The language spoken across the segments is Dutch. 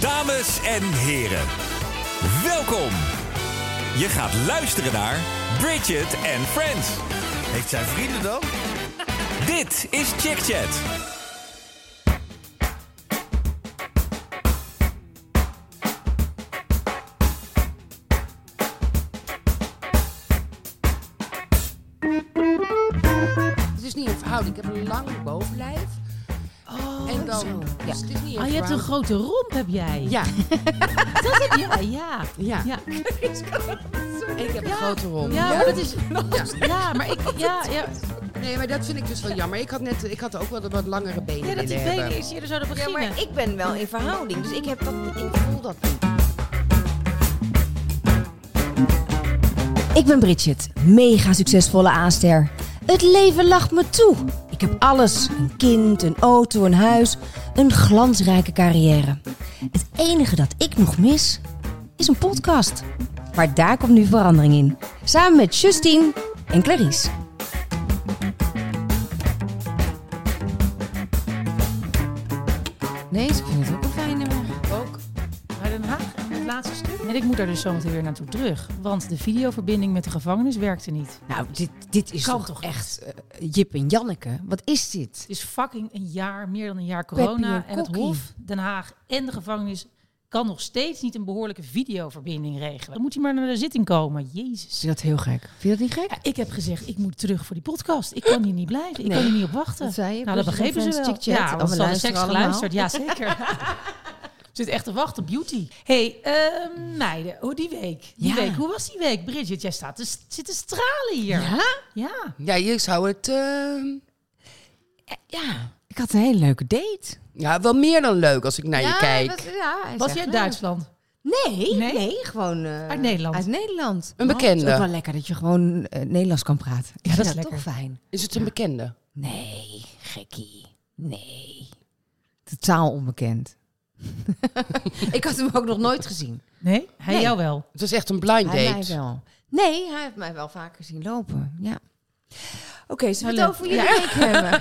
Dames en heren, welkom. Je gaat luisteren naar Bridget and Friends. Heeft zij vrienden dan? Dit is Chick Chat. Het is niet een verhouding. Ik heb een lang bovenlijf. en dan, zo. Ja, het is niet Ah, je hebt een verhouding. grote romp, heb jij? Ja, Dat heb, ja, ja. Ja. ja. en ik heb een Ja. grote romp. Ja, maar dat is... Ja. Ja, maar ik... Ja, ja, Nee, maar dat vind ik dus wel jammer. Ik had, net, ik had ook wel de wat langere benen ja dat die willen benen hebben. eerst eerder zouden Ja, beginnen. maar ik ben wel in verhouding, dus ik, heb dat, ik voel dat niet. Ik ben Bridget, mega succesvolle aanster. Het leven lacht me toe. Ik heb alles: een kind, een auto, een huis, een glansrijke carrière. Het enige dat ik nog mis is een podcast. Maar daar komt nu verandering in. Samen met Justine en Clarice. Nee, ik vind het ook een fijn nummer. ook naar Den Haag, het laatste stuk. En ik moet daar dus zometeen weer naartoe terug. Want de videoverbinding met de gevangenis werkte niet. Nou, dit, dit is Kan toch, toch niet? echt eh, Jip en Janneke. Wat is dit? Het is fucking een jaar, meer dan een jaar Peppie corona. en En het kokkie. Hof, Den Haag en de gevangenis kan nog steeds niet een behoorlijke videoverbinding regelen. Dan moet hij maar naar de zitting komen. Jezus. Is dat heel gek? Vind je dat niet gek? Ja, ik heb gezegd, ik moet terug voor die podcast. Ik kan hier niet blijven. Ik kan hier niet op wachten. Dat zei je, nou, dat Bridget begrepen ze van wel. Friends Chick Chat. Ja, Oh, want we ze hadden luisteren seks allemaal. geluisterd. Ja, zeker. Zit echt te wachten, beauty. hey, ehm, meiden, hoe die week? Die Ja. week, hoe was die week? Bridget, jij staat te, zit te stralen hier. Ja. Ja, je zou het... ehm, Ja, ik had een hele leuke date. ja, wel meer dan leuk als ik naar je kijk. Was jij uit Duitsland? Nee, Nee? nee, gewoon eh, Uit Nederland? Uit Nederland. Oh, Een bekende. Het is ook wel lekker dat je gewoon eh, Nederlands kan praten. Ik dat vind is lekker. toch fijn. Is het een bekende? Nee, gekkie. Nee. Totaal onbekend. ik had hem ook nog nooit gezien. Nee? Hij Nee. jou wel. Het was echt een blind Hij date. mij wel. Nee, hij heeft mij wel vaker zien lopen. Ja. Oké, zullen we het Hallo. over jullie week hebben?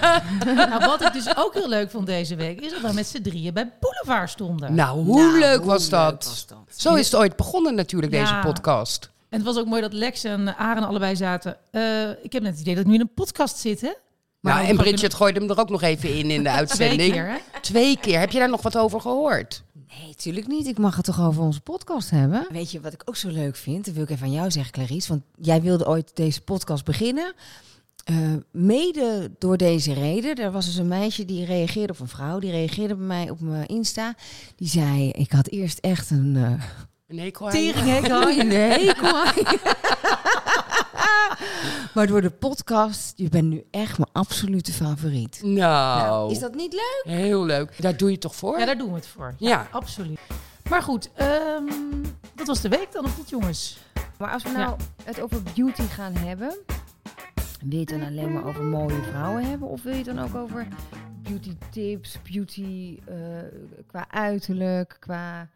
nou, wat ik dus ook heel leuk vond deze week, is dat we met z'n drieën bij Boulevard stonden. Nou, hoe Nou, leuk hoe was dat? leuk was dat? Zo is het ooit begonnen natuurlijk, Ja. deze podcast. Nou, En het was ook mooi dat Lex en Aaron allebei zaten. Eh, ik heb net het idee dat ik nu in een podcast zit, hè? Maar we en gaan Bridget gooide hem er ook nog even in in de Twee uitzending. keer, hè? Twee keer. Heb je daar nog wat over gehoord? Nee, tuurlijk niet. Ik mag het toch over onze podcast hebben? Weet je wat ik ook zo leuk vind? Dat wil ik even aan jou zeggen, Clarice. Want jij wilde ooit deze podcast beginnen. Eh, mede door deze reden. Er was dus een meisje die reageerde, of een vrouw, die reageerde bij mij op mijn Insta. Die zei, ik had eerst echt een... eh, Een hekel aan je? Tering, hè? Nee, kom maar. maar door de podcast, je bent nu echt mijn absolute favoriet. Nou, Is dat niet leuk? heel leuk. Daar doe je het toch voor? Ja, daar doen we het voor. Ja. Absoluut. Maar goed, ehm, dat was de week dan, of niet, jongens? Maar als we nou het over beauty gaan hebben, wil je het dan alleen maar over mooie vrouwen hebben? Of wil je het dan ook over beauty tips, beauty eh, qua uiterlijk, qua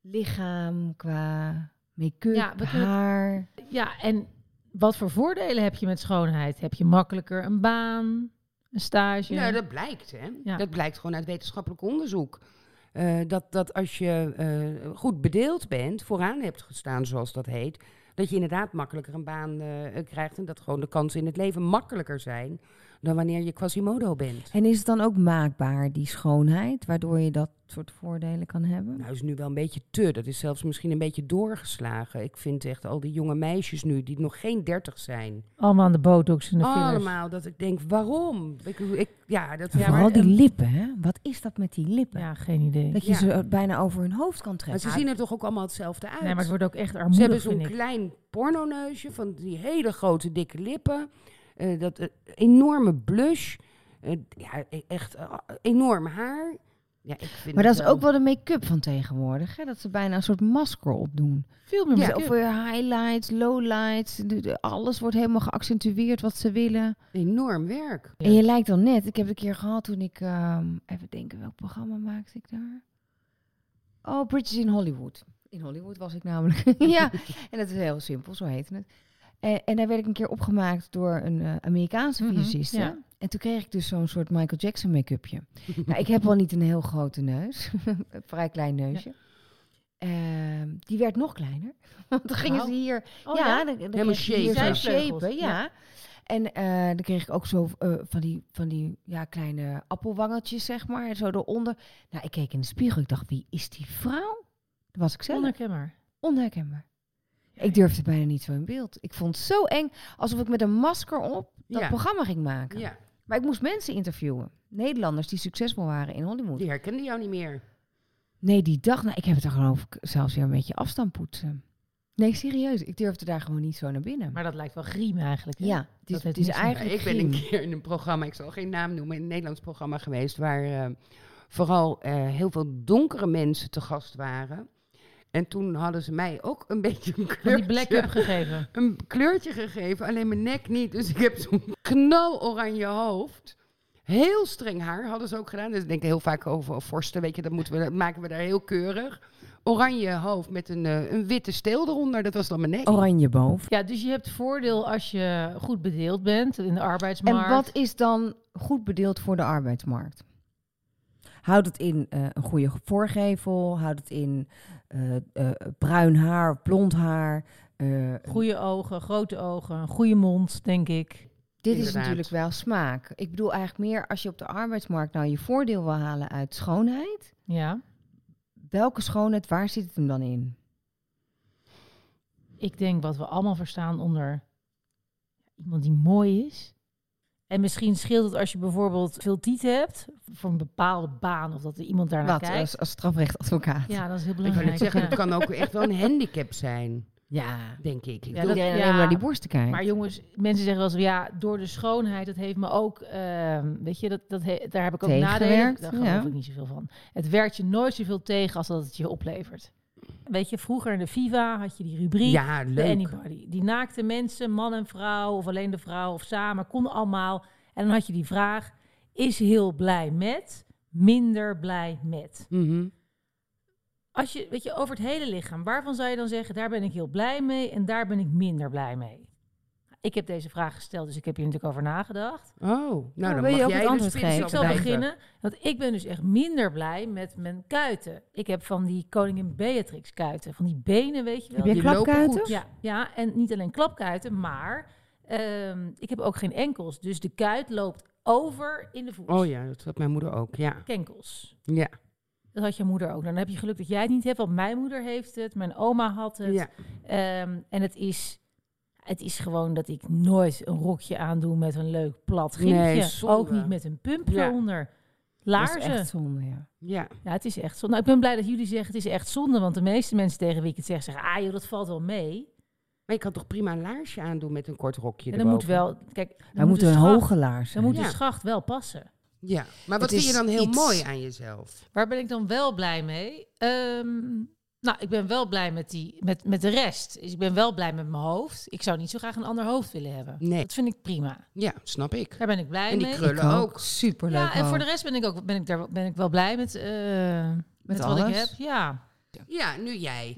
lichaam, qua make-up, Ja, we kunnen- haar? Ja, en wat voor voordelen heb je met schoonheid? Heb je makkelijker een baan, een stage? Nou, dat blijkt, hè? Ja. Dat blijkt gewoon uit wetenschappelijk onderzoek. Eh, dat, dat als je eh, goed bedeeld bent, vooraan hebt gestaan, zoals dat heet, dat je inderdaad makkelijker een baan eh, krijgt en dat gewoon de kansen in het leven makkelijker zijn dan wanneer je Quasimodo bent. En is het dan ook maakbaar, die schoonheid, waardoor je dat soort voordelen kan hebben? Nou, is nu wel een beetje te. Dat is zelfs misschien een beetje doorgeslagen. Ik vind echt al die jonge meisjes nu, die nog geen dertig zijn. Allemaal aan de botox en de fillers. Allemaal dat ik denk, waarom? Ik, ik, ja, dat, En ja, Vooral maar, die eh, lippen, hè? Wat is dat met die lippen? Ja, geen idee. Dat je Ja. ze bijna over hun hoofd kan maar trekken. ze zien er toch ook allemaal hetzelfde uit? Nee, maar het wordt ook echt Ze armoedig, hebben zo'n vind ik. klein pornoneusje van die hele grote dikke lippen. eh, dat eh, enorme blush. eh, ja, e- echt eh, enorm haar. Ja, ik vind Maar dat het is ook wel de make-up van tegenwoordig, hè? Dat ze bijna een soort masker opdoen. Veel meer Dus make-up. Of weer highlights, lowlights, de- de- alles wordt helemaal geaccentueerd wat ze willen. enorm werk. Ja. En je lijkt dan net, ik heb het een keer gehad toen ik, ehm, even denken, welk programma maakte ik daar? Oh, Bridges in Hollywood. In Hollywood was ik namelijk. ja, en dat is heel simpel, zo heette het. En, en daar werd ik een keer opgemaakt door een eh, Amerikaanse Mhm, visagiste. ja. En toen kreeg ik dus zo'n soort Michael Jackson make-upje. nou, ik heb wel niet een heel grote neus, een vrij klein neusje. ehm, die werd nog kleiner. Want dan gingen Wauw. ze hier Oh, ja, ja? dan, dan Helemaal kreeg je hier shapen. zo'n Zijvleugels, shapen, ja. ja. En eh, dan kreeg ik ook zo eh, van die, van die ja, kleine appelwangeltjes, zeg maar, en zo eronder. Nou, ik keek in de spiegel, ik dacht, wie is die vrouw? Dat was ik zelf, Onherkenbaar. onherkenbaar. Ik durfde bijna niet zo in beeld. Ik vond het zo eng, alsof ik met een masker op dat Ja. programma ging maken. Ja, Maar ik moest mensen interviewen. Nederlanders die succesvol waren in Hollywood. die herkende jou niet meer. Nee, die dag, nou, ik heb het er geloof ik zelfs weer een beetje afstand poetsen. Nee, serieus, ik durfde daar gewoon niet zo naar binnen. Maar dat lijkt wel griem eigenlijk. hè? ja, het is, dat heeft het is niks met- eigenlijk ik ben een griem. keer in een programma, ik zal geen naam noemen, in een Nederlands programma geweest, waar eh, vooral eh, heel veel donkere mensen te gast waren. En toen hadden ze mij ook een beetje een Van die kleurtje, black-up gegeven. een kleurtje gegeven, alleen mijn nek niet. Dus ik heb zo'n knaloranje hoofd. Heel streng haar hadden ze ook gedaan. Dus ik denk heel vaak over vorsten, weet je, dat, moeten we, dat maken we daar heel keurig. Oranje hoofd met een, eh, een witte steel eronder, dat was dan mijn nek. Oranje boven. Ja, dus je hebt voordeel als je goed bedeeld bent in de arbeidsmarkt. En wat is dan goed bedeeld voor de arbeidsmarkt? Houdt het in eh, een goede voorgevel? Houdt het in eh, eh, bruin haar, blond haar? eh, Goede ogen, grote ogen, een goede mond, denk ik. Dit is Inderdaad. natuurlijk wel smaak. Ik bedoel eigenlijk meer als je op de arbeidsmarkt nou je voordeel wil halen uit schoonheid. Ja. Welke schoonheid, waar zit het hem dan in? Ik denk wat we allemaal verstaan onder iemand die mooi is. En misschien scheelt het als je bijvoorbeeld veel tieten hebt voor een bepaalde baan of dat er iemand daarnaar Wat, kijkt. als, als strafrechtadvocaat? Ja, dat is heel Ik kan belangrijk. het zeggen, ja. het kan ook echt wel een handicap zijn, Ja. denk ik. Ik Ja, bedoel, Iedereen dat- alleen maar ja. naar die borsten kijkt. Maar jongens, mensen zeggen wel eens, ja, door de schoonheid, dat heeft me ook, ehm, weet je, dat, dat he- daar heb ik ook nadelen. Tegengewerkt, Daar geloof ja. ik niet zoveel van. Het werkt je nooit zoveel tegen als dat het je oplevert. Weet je, vroeger in de Viva had je die rubriek, Ja, de leuk. Anybody. Die naakte mensen, man en vrouw, of alleen de vrouw, of samen, kon allemaal. En dan had je die vraag, is heel blij met, minder blij met. Mhm. Als je, weet je, over het hele lichaam, waarvan zou je dan zeggen, daar ben ik heel blij mee en daar ben ik minder blij mee? Ik heb deze vraag gesteld, dus ik heb hier natuurlijk over nagedacht. Dus Oh, nou dan wil je mag ook jij het de antwoord spits geven? Ik zal opdrijven. beginnen, want ik ben dus echt minder blij met mijn kuiten. Ik heb van die koningin Beatrix kuiten, van die benen, weet je wel. Heb jij Die lopen klapkuiten? goed. Ja, ja, en niet alleen klapkuiten, maar ehm, ik heb ook geen enkels. Dus de kuit loopt over in de voet. Oh ja, dat had mijn moeder ook, ja. Kenkels. Ja, Dat had je moeder ook. Dan heb je geluk dat jij het niet hebt, want mijn moeder heeft het, mijn oma had het. ja. Ehm, en het is, het is gewoon dat ik nooit een rokje aandoe met een leuk plat Nee, grintje. zonde. ook niet met een pump Ja. eronder. Dat is Laarzen. echt zonde, ja. ja. Ja, het is echt zonde. Nou, ik ben blij dat jullie zeggen het is echt zonde, want de meeste mensen tegen wie ik het zeg zeggen, ah joh, dat valt wel mee. Maar je kan toch prima een laarsje aandoen met een kort rokje En dan moet erboven? wel, kijk, dan Hij moet de een schacht- hoge laars Dan zijn. moet Ja. de schacht wel passen. Ja, maar wat Het vind je is dan heel iets. mooi aan jezelf? Waar ben ik dan wel blij mee? Ehm, nou, ik ben wel blij met, die, met, met de rest. Dus ik ben wel blij met mijn hoofd. Ik zou niet zo graag een ander hoofd willen hebben. Nee. Dat vind ik prima. Ja, snap ik. Daar ben ik blij En die mee. krullen Ik ook. Superleuk Ja, en ook. voor de rest ben ik, ook, ben ik, daar, ben ik wel blij met, eh, met, wat ik alles. heb. Ja. Ja, nu jij.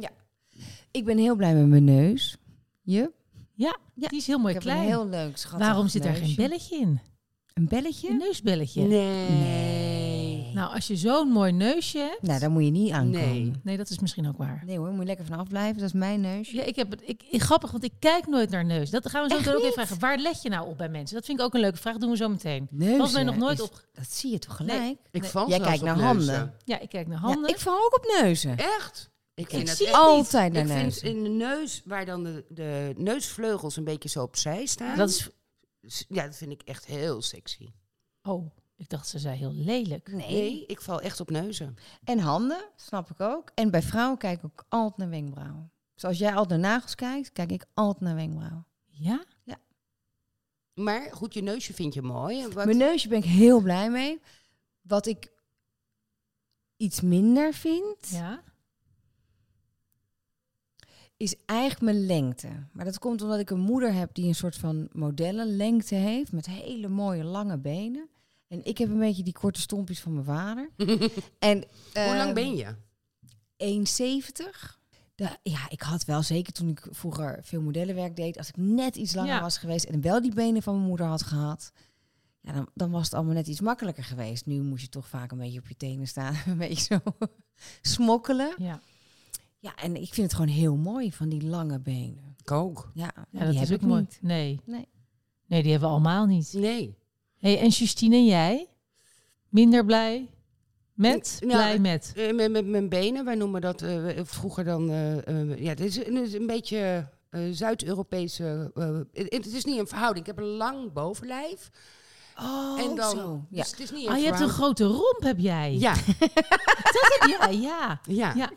Ik ben heel blij met mijn neus. Je? Ja, Ja, die is heel mooi Ik heb klein. een heel leuk schattig Waarom zit daar neusje. geen belletje in? Een belletje? Een neusbelletje. Nee. Nou, als je zo'n mooi neusje hebt... Nou, daar moet je niet aan Nee. komen. Nee, dat is misschien ook waar. Nee hoor, moet je lekker vanaf blijven. Dat is mijn neusje. Ja, ik heb het. Ik, ik- grappig, want ik kijk nooit naar neus. Dat gaan we zo Echt meteen ook even niet? vragen. Waar let je nou op bij mensen? Dat vind ik ook een leuke vraag. Dat doen we zo meteen. Neus, was mij hè, nog nooit is- op. Dat zie je toch gelijk? Ik val Jij zelfs kijkt op naar neuzen. handen. Ja, ik kijk naar Ja, handen. ik val ook op neuzen. Echt? Ik, vind dat zie Oh, echt altijd niet. naar Ik vind neuzen. in de neus, waar dan de, de neusvleugels een beetje zo opzij staan. dat is. ja, dat vind ik echt heel sexy. Oh, ik dacht ze zei heel lelijk. Nee, ik val echt op neuzen. En handen, snap ik ook. En bij vrouwen kijk ik ook altijd naar wenkbrauwen. Zoals jij altijd naar nagels kijkt, kijk ik altijd naar wenkbrauwen. Ja? Maar goed, je neusje vind je mooi. En wat- Mijn neusje ben ik heel blij mee. Wat ik iets minder vind, Ja. is eigenlijk mijn lengte. Maar dat komt omdat ik een moeder heb die een soort van modellenlengte heeft. Met hele mooie lange benen. En ik heb een beetje die korte stompjes van mijn vader. en, eh, Hoe lang ben je? 1,70. Da- ja, ik had wel zeker toen ik vroeger veel modellenwerk deed. Als ik net iets langer Ja. was geweest en wel die benen van mijn moeder had gehad. Ja, dan, dan was het allemaal net iets makkelijker geweest. Nu moest je toch vaak een beetje op je tenen staan. Een beetje zo smokkelen. Ja. Ja, en ik vind het gewoon heel mooi van die lange benen. Ik ook. Ja, Ja, die dat heb is ook ik mooi. niet. Nee. Nee. Nee, die hebben we allemaal niet. Nee. Hey, en Justine en jij? Minder blij met? Ja, blij ik- met. Eh, Met, met mijn benen, wij noemen dat eh, vroeger dan... eh, eh, ja, het is, een- het is een beetje eh, Zuid-Europese... eh, het, het is niet een verhouding. Ik heb een lang bovenlijf. Oh, en dan, zo. Ja. Dus het is niet Ah, je hebt een verhouding. grote romp, heb jij. Ja, Dat heb jij, ja. ja. Ja,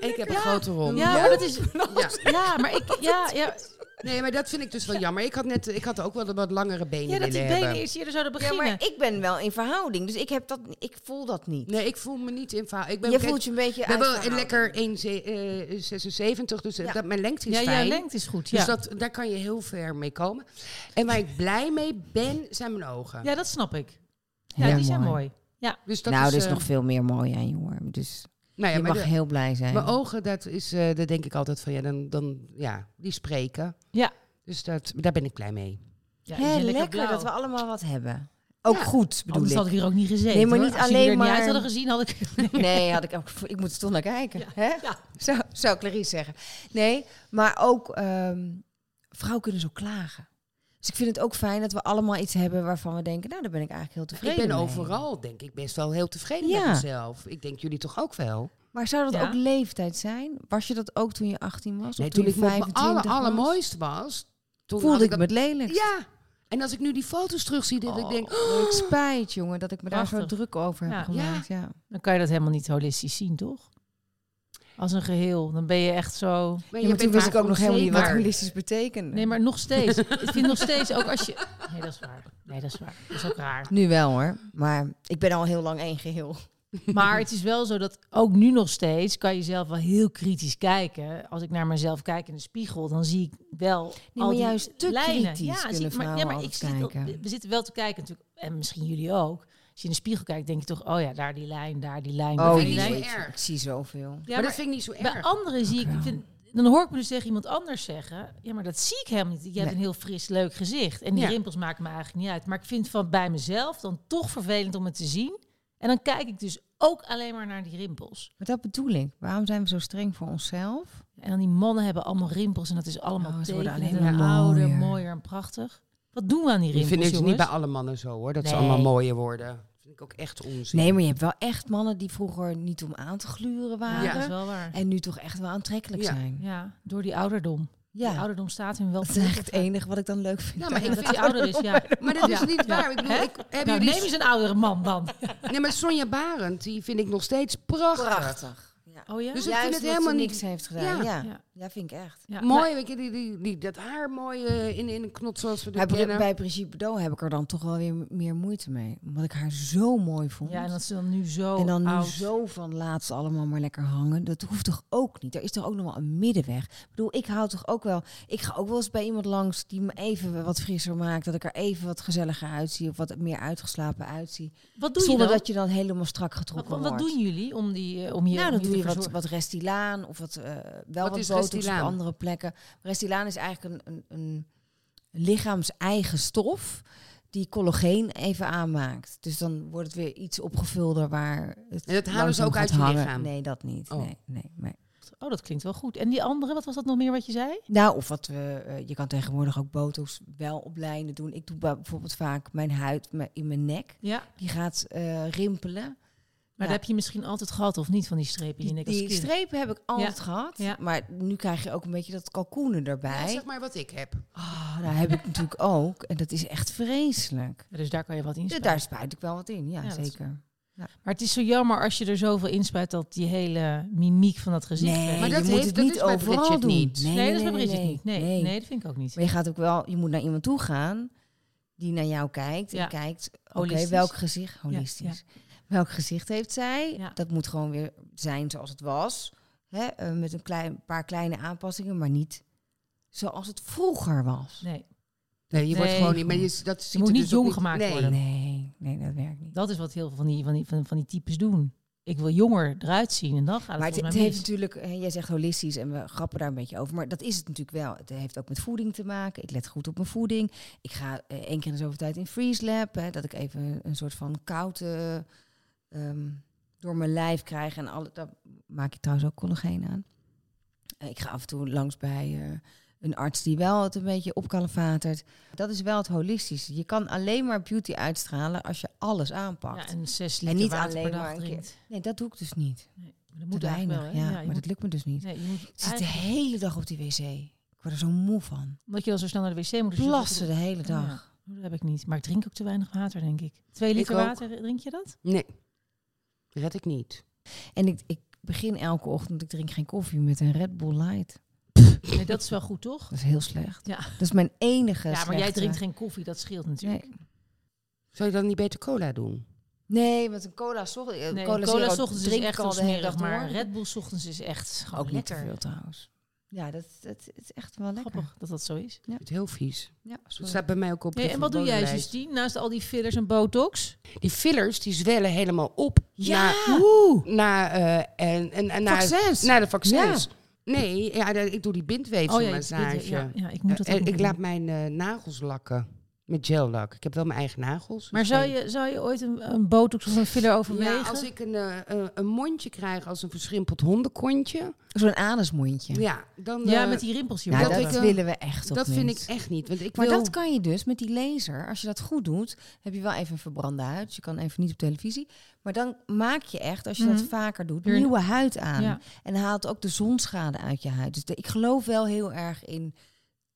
Ik heb een grote rol. ja maar dat is... Ja. Ja, maar ik... Ja, ja, Nee, maar dat vind ik dus wel jammer. Ik had, net, ik had ook wel een wat langere benen ja dat die willen benen hebben. eerst eerder zouden Ja, beginnen. maar ik ben wel in verhouding, dus ik, heb dat, ik voel dat niet. Nee, ik voel me niet in verhouding. Ik ben, je kijk, voelt je een beetje ik ben uit wel een verhouding. lekker 1,76, dus eh, Ja. dat, mijn lengte is ja, fijn. ja, lengte is goed. Ja. Dus dat, daar kan je heel ver mee komen. En waar ik blij mee ben, zijn mijn ogen. ja, dat snap ik. Ja, Heel die zijn mooi. mooi. Dus dat nou, is, er is eh, nog veel meer mooi aan, jongen. Dus nou ja, je maar mag de- heel blij zijn. Mijn ogen, dat is, eh daar denk ik altijd van, ja, dan, dan, ja die spreken. Ja. Dus dat, daar ben ik blij mee. Ja, die Hè, zijn lekker, blauw. dat we allemaal wat hebben. Ook goed, bedoel Anders had ik. ik hier ook niet gezeten. Nee, maar hoor. niet Als jullie alleen er niet uit maar- hadden gezien, had ik... Nee, had ik, ook, ik moet er toch naar kijken. Hè? Ja. Zou, zou Clarice zeggen. Nee, maar ook ehm, vrouwen kunnen zo klagen. Dus ik vind het ook fijn dat we allemaal iets hebben waarvan we denken... nou, daar ben ik eigenlijk heel Ik tevreden ben mee. overal, denk ik, best wel heel tevreden Ja. met mezelf. Ik denk jullie toch ook wel? Maar zou dat Ja. ook leeftijd zijn? Was je dat ook toen je 18 was? Nee, of toen je ik nog mijn 25 aller, was? allermooist was, toen had voelde ik dat- me het lelijkst. Ja. En als ik nu die foto's terugzie, dat ik denk, Oh, ik spijt, jongen, dat ik me daar zo Prachtig. druk over heb Ja. gemaakt. Ja. Dan kan je dat helemaal niet holistisch zien, toch? Als een geheel. Dan ben je echt zo... maar Ja, maar toen wist ik ook nog helemaal niet wat Maar holistisch betekende. Nee, maar nog steeds. ik vind nog steeds ook als je... Nee, dat is waar. Nee, dat is waar. Dat is ook raar. Nu wel hoor, maar ik ben al heel lang één geheel. Maar het is wel zo dat ook nu nog steeds kan je zelf wel heel kritisch kijken. Als ik naar mezelf kijk in de spiegel, dan zie ik wel maar al die juist te lijnen. kritisch kunnen vrouwen altijd zit al- kijken. we zitten wel te kijken natuurlijk, en misschien jullie ook. Als je in de spiegel kijkt, denk je toch, oh ja, daar die lijn, daar die lijn. daar Oh, die niet lijn. zo jeetje, erg. Ik zie zoveel. Ja, maar dat vind ik niet zo bij erg. anderen zie ik, Ook wel. ik vind- dan hoor ik me dus tegen iemand anders zeggen, ja, maar dat zie ik helemaal niet. Je hebt Nee. een heel fris, leuk gezicht. En die Ja. rimpels maken me eigenlijk niet uit. Maar ik vind van bij mezelf dan toch vervelend om het te zien. En dan kijk ik dus ook alleen maar naar die rimpels. Maar dat bedoel ik. Waarom zijn we zo streng voor onszelf? En dan die mannen hebben allemaal rimpels en dat is allemaal Oh, ze worden tekenen. alleen en maar ouder, mooier. mooier en prachtig. Wat doen we aan die Ik rimpels, vind het niet jongens? bij alle mannen zo hoor, dat ze Nee. allemaal mooier worden. Dat vind ik ook echt onzin. Nee, maar je hebt wel echt mannen die vroeger niet om aan te gluren ja, waren. dat is wel waar. En nu toch echt wel aantrekkelijk Ja. zijn. Ja, door die ouderdom. Ja, Die ouderdom staat hun wel dat is toe. echt het enige wat ik dan leuk vind. Ja, maar ik Dat vind, die ouder is, ja. maar dat is Ja. niet waar. Ik bedoel, Hè? ik, hebben Nou, jullie neem eens een oudere man dan. Nee, maar Sonja Barend, die vind ik nog steeds prachtig. Prachtig. Oh ja? Dus ik Juist vind omdat het ze helemaal niet niks heeft gedaan. Ja. Ja. Ja. Ja. vind ik echt. Ja, mooi. Weet je, die, die, die, dat haar mooi eh, in, in een knot zoals we Bij, dat Bri- kennen. bij Brigitte Bardot heb ik er dan toch wel weer m- meer moeite mee. Omdat ik haar zo mooi vond. nou, ja, en dat ze dan nu zo en dan nu oud- zo van laatst allemaal maar lekker hangen. Dat hoeft toch ook niet? Er is toch ook nog wel een middenweg? Ik bedoel, ik hou toch ook wel... Ik ga ook wel eens bij iemand langs die me even wat frisser maakt. Dat ik er even wat gezelliger uitzie. Of wat meer uitgeslapen uitzie. Wat doe je Zonder dan? dat je dan helemaal strak wat, getrokken wat, wordt. doen jullie om, die, eh, om hier nou, om hier dan doe te je wat, verzorgen? wat Restilaan of wat, eh, wel Wat wat is botox op Restilaan? andere plekken. Restilaan is eigenlijk een, een, een lichaams-eigen stof die collageen even aanmaakt. Dus dan wordt het weer iets opgevulder waar het En dat halen langzaam ze ook gaat uit je hangen. lichaam? Nee, dat niet. Oh. Nee, nee, nee. Oh, dat klinkt wel goed. En die andere, wat was dat nog meer wat je zei? Nou, of wat we, eh, je kan tegenwoordig ook botox wel op lijnen doen. Ik doe ba- bijvoorbeeld vaak mijn huid me- in mijn nek. Ja, maar Die gaat eh, rimpelen. dat Ja. heb je misschien altijd gehad of niet van die strepen in je Die, nek als kind? strepen heb ik altijd gehad. Ja. Maar nu krijg je ook een beetje dat kalkoenen Ja, erbij. zeg maar wat ik heb. Ah, daar heb ik natuurlijk ook. En dat is echt vreselijk. Ja, Dus daar kan je wat in Ja, spuiten. daar spuit ik wel wat in, ja, Ja, dat is- zeker. Maar het is zo jammer als je er zoveel inspuit dat die hele mimiek van dat dus gezicht. weg- Maar je dat moet heeft- het dat niet is bij overal Bridget doen. niet. nee, dat is bij Bridget niet. Nee, nee. dat vind ik ook niet. Maar je gaat ook wel, je moet naar iemand toe gaan die naar jou kijkt. Ja. En kijkt, oké, Holistisch. welk gezicht, holistisch. Welk gezicht heeft zij? Ja. Dat moet gewoon weer zijn zoals het was. Hè? eh, met een klein, paar kleine aanpassingen, maar niet zoals het vroeger was. Nee, Nee, je wordt Nee. gewoon niet... Maar je, dat ziet moet er niet dus ook jong gemaakt nee. worden. Nee, nee, dat werkt niet. dat is wat heel veel van die, van die, van, van die types doen. Ik wil jonger eruit zien en dan gaat het Maar het, volgens mij het heeft mis. natuurlijk, hè, jij zegt holistisch en we grappen daar een beetje over. Maar dat is het natuurlijk wel. Het heeft ook met voeding te maken. Ik let goed op mijn voeding. Ik ga eh, één keer in de zoveel tijd in Freeze Lab. Hè, dat ik even een soort van koude ehm, door mijn lijf krijgen. En alle, daar maak ik trouwens ook collageen aan. Eh, Ik ga af en toe langs bij eh, een arts die wel het een beetje opkalefatert. Dat is wel het holistische. Je kan alleen maar beauty uitstralen als je alles aanpakt. Ja, en zes En liter niet water per alleen dag maar een keer. drinkt. Nee, dat doe ik dus niet. Nee, maar dat Te weinig, eigenlijk wel, ja. hè? maar je dat moet- lukt me dus niet. nee, je moet Ik zit de eigenlijk- hele dag op die wc. Ik word er zo moe van. Omdat je al zo snel naar de wc moet. dus je Plassen moet- de hele dag. Ja, dat heb ik niet. Maar ik drink ook te weinig water, denk ik. Twee liter ook. water, eh, drink je dat? Nee, red ik niet. En ik, ik begin elke ochtend, ik drink geen koffie met een Red Bull Light. Nee, dat is wel goed, toch? Dat is heel slecht. Ja. Dat is mijn enige Ja, maar jij slechte- drinkt geen koffie, dat scheelt natuurlijk. Nee. Zou je dan niet beter cola doen? Nee, met een cola ochtends. Nee, cola, cola, zero ochtends drink is ik echt al al de hele smerig, dag maar door. Red Bull ochtends is echt gewoon ook niet te lekker. veel trouwens. Ja, dat, dat, is echt wel lekker. Grappig Dus dat dat zo is. Het is heel vies. Ja, Dat sorry. staat bij mij ook op de Nee, en wat doe verboden jij, lijst. Justine, naast al die fillers en botox? Die fillers die zwellen helemaal op. Ja! Na, Oeh! na, eh, en, en, en na, Vaccins! na de vaccins. Nee, ja, de- ik doe die Oh je bindweefselmassage. bent- ja, ja, ik moet dat Eh, ook nog ik doen. laat mijn eh, nagels lakken met gellak. Ik heb wel mijn eigen nagels. dus Maar zou geen- je, zou je ooit een, een botox of een filler overwegen? Ja, als ik een, eh, eh, een mondje krijg als een verschrimpeld hondenkontje. Zo'n anusmondje. Ja, dan... Ja, eh, met die rimpels hier. Nou, dat dat ik, eh, willen we echt toch Dat vind niet. ik echt niet. Want ik Maar wil... dat kan je dus met die laser. Als je dat goed doet, heb je wel even een verbrande huid. Dus Je kan even niet op televisie. Maar dan maak je echt, als je dat Mhm. vaker doet, Weer een- nieuwe huid aan. Ja. En haalt ook de zonschade uit je huid. Dus de- ik geloof wel heel erg in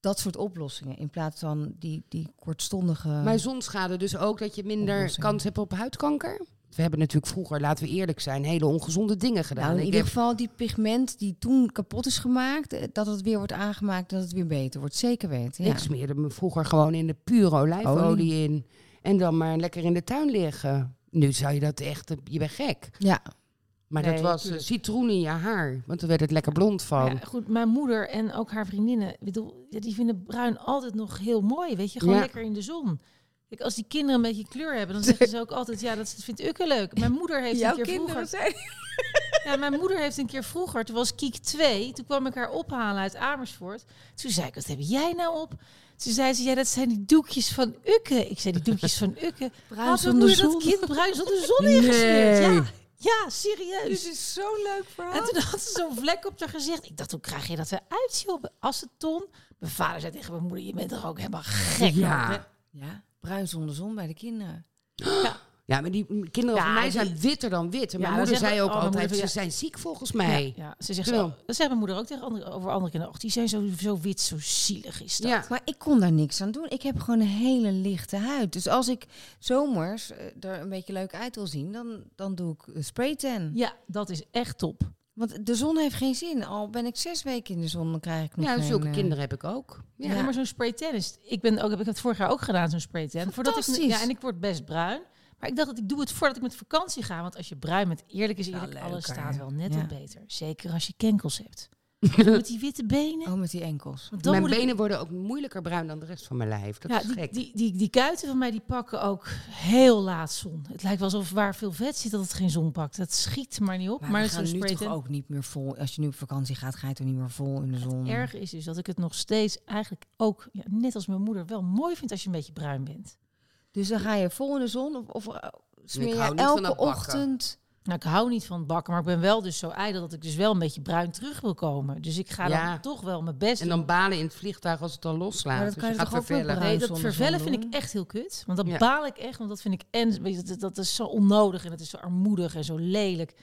dat soort oplossingen. In plaats van die, die kortstondige... Maar zonschade dus ook dat je minder Oplossing. kans hebt op huidkanker? We hebben natuurlijk vroeger, laten we eerlijk zijn, hele ongezonde dingen gedaan. nou, in Ik ieder heb- geval die pigment die toen kapot is gemaakt, eh, dat het weer wordt aangemaakt, dat het weer beter wordt. Zeker weten. Ja. Ik smeerde me vroeger gewoon in de pure olijfolie in. En dan maar lekker in de tuin liggen. Nu zou je dat echt... eh, Je bent gek. ja. Maar dat Nee, was eh, tuurlijk. citroen in je haar. Want dan werd het lekker blond van. Ja, goed, mijn moeder en ook haar vriendinnen, ik bedoel, ja, die vinden bruin altijd nog heel mooi, weet je, gewoon Ja. lekker in de zon. Kijk, als die kinderen een beetje kleur hebben, dan zeggen ze ook altijd, ja, dat vindt Ukke leuk. Mijn moeder heeft een keer vroeger, zijn... ja, mijn moeder heeft een keer vroeger, toen was Kiek 2, toen kwam ik haar ophalen uit Amersfoort. Toen zei ik, wat heb jij nou op? Toen zei ze, ja, dat zijn die doekjes van Ukke. Ik zei, die doekjes van Ukke. Had Bruin mijn zonder moeder dat zon. kind bruin zonder zon ingesmeerd? Nee. Ja, ja, serieus. is zo'n leuk verhaal. En toen had ze zo'n vlek op haar gezicht. Ik dacht, hoe krijg je dat eruit, joh? Aceton. Mijn vader zei tegen mijn moeder, je bent toch ook helemaal gek. Ja. man. Ja, bruin zonder zon bij de kinderen. Ja, maar die m- kinderen Ja, van mij die- zijn witter dan wit. En Ja, mijn dan moeder zeggen- zei ook oh, mijn altijd, moeder ze zei- zijn ziek volgens mij. Ja, Ja, ze zegt Terwijl- zo, dat zegt mijn moeder ook tegen andere, over andere kinderen. Och, die zijn zo, zo wit, zo zielig is dat. Maar ik kon daar niks aan doen. Ik heb gewoon een hele lichte huid. Dus als ik zomers eh, er een beetje leuk uit wil zien, dan, dan doe ik eh, spraytan. Ja, dat is echt top. Want de zon heeft geen zin. Al ben ik zes weken in de zon, dan krijg ik nog Ja, geen, zulke eh, kinderen heb ik ook. Ja. Ja. maar zo'n spray tennis. Ik ben ook, heb ik dat vorig jaar ook gedaan, zo'n spray tan. Voordat ik, Fantastisch. ja, en ik word best bruin. Maar ik dacht dat ik doe het voordat ik met vakantie ga. Want als je bruin bent, eerlijk is eerlijk, leuker, alles ja. staat wel net Ja. wat beter. Zeker als je kenkels hebt. met die witte benen. Oh, met die enkels. Want dan mijn moet ik- benen worden ook moeilijker bruin dan de rest van mijn lijf. Dat ja, is die, gek. die, die, die kuiten van mij die pakken ook heel laat zon. Het lijkt wel alsof waar veel vet zit dat het geen zon pakt. Dat schiet maar niet op. Maar, Maar, we het gaan zo'n nu spray toch tan- ook niet meer vol. Als je nu op vakantie gaat, ga je toch niet meer vol in de zon. Erg is dus dat ik het nog steeds eigenlijk ook, ja, net als mijn moeder, wel mooi vind als je een beetje bruin bent. Dus dan ga je vol in de zon of, of eh, smeer Ik je hou niet van elke dat bakken. ochtend. Nou, ik hou niet van bakken, maar ik ben wel dus zo ijdel dat ik dus wel een beetje bruin terug wil komen. Dus ik ga Ja. dan toch wel mijn best En dan balen in het vliegtuig als het dan loslaat. Maar dat dus kan je je gaat toch ook wel vervelen. bruin Nee, dat zonder vervellen zon vind ik doen. echt heel kut. Want dat Ja. baal ik echt. Want dat vind ik en weet je, dat, dat is zo onnodig en dat is zo armoedig en zo lelijk.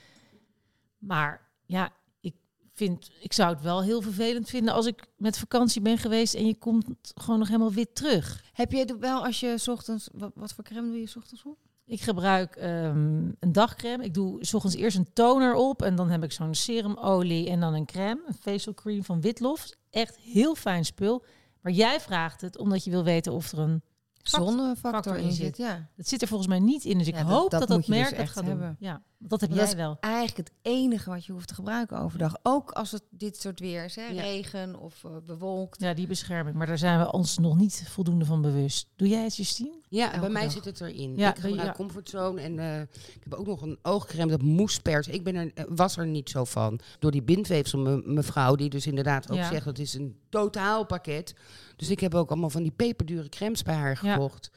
Maar ja, ik vind, ik zou het wel heel vervelend vinden als ik met vakantie ben geweest en je komt gewoon nog helemaal wit terug. Heb je wel als je 's ochtends... Wat, wat voor crème doe je 's ochtends op? Ik gebruik ehm, een dagcreme. Ik doe 's ochtends eerst een toner op en dan heb ik zo'n serumolie en dan een crème, een facial cream van Witlof. Echt heel fijn spul. Maar jij vraagt het omdat je wil weten of er een Fact- Zonnefactor factor in in zit, zit. ja. Dat zit er volgens mij niet in. Dus ik Ja, dat- hoop dat dat dat, moet je dus merk het echt gaat hebben. doen. Ja, want dat heb Want jij dat is wel. Eigenlijk het enige wat je hoeft te gebruiken overdag. Ook als het dit soort weer is, hè? Ja. regen of eh, bewolkt. Ja, die bescherming. Maar daar zijn we ons nog niet voldoende van bewust. Doe jij het, Justine? Ja, bij Elke mij dag. zit het erin. Ja, ik gebruik ja. comfortzone en eh, ik heb ook nog een oogcreme dat moest persen. Ik ben er, eh, was er niet zo van. Door die bindweefsel, me- mevrouw, die dus inderdaad ook Ja. zegt dat is een totaal pakket. Dus ik heb ook allemaal van die peperdure crèmes bij haar Ja. gekocht.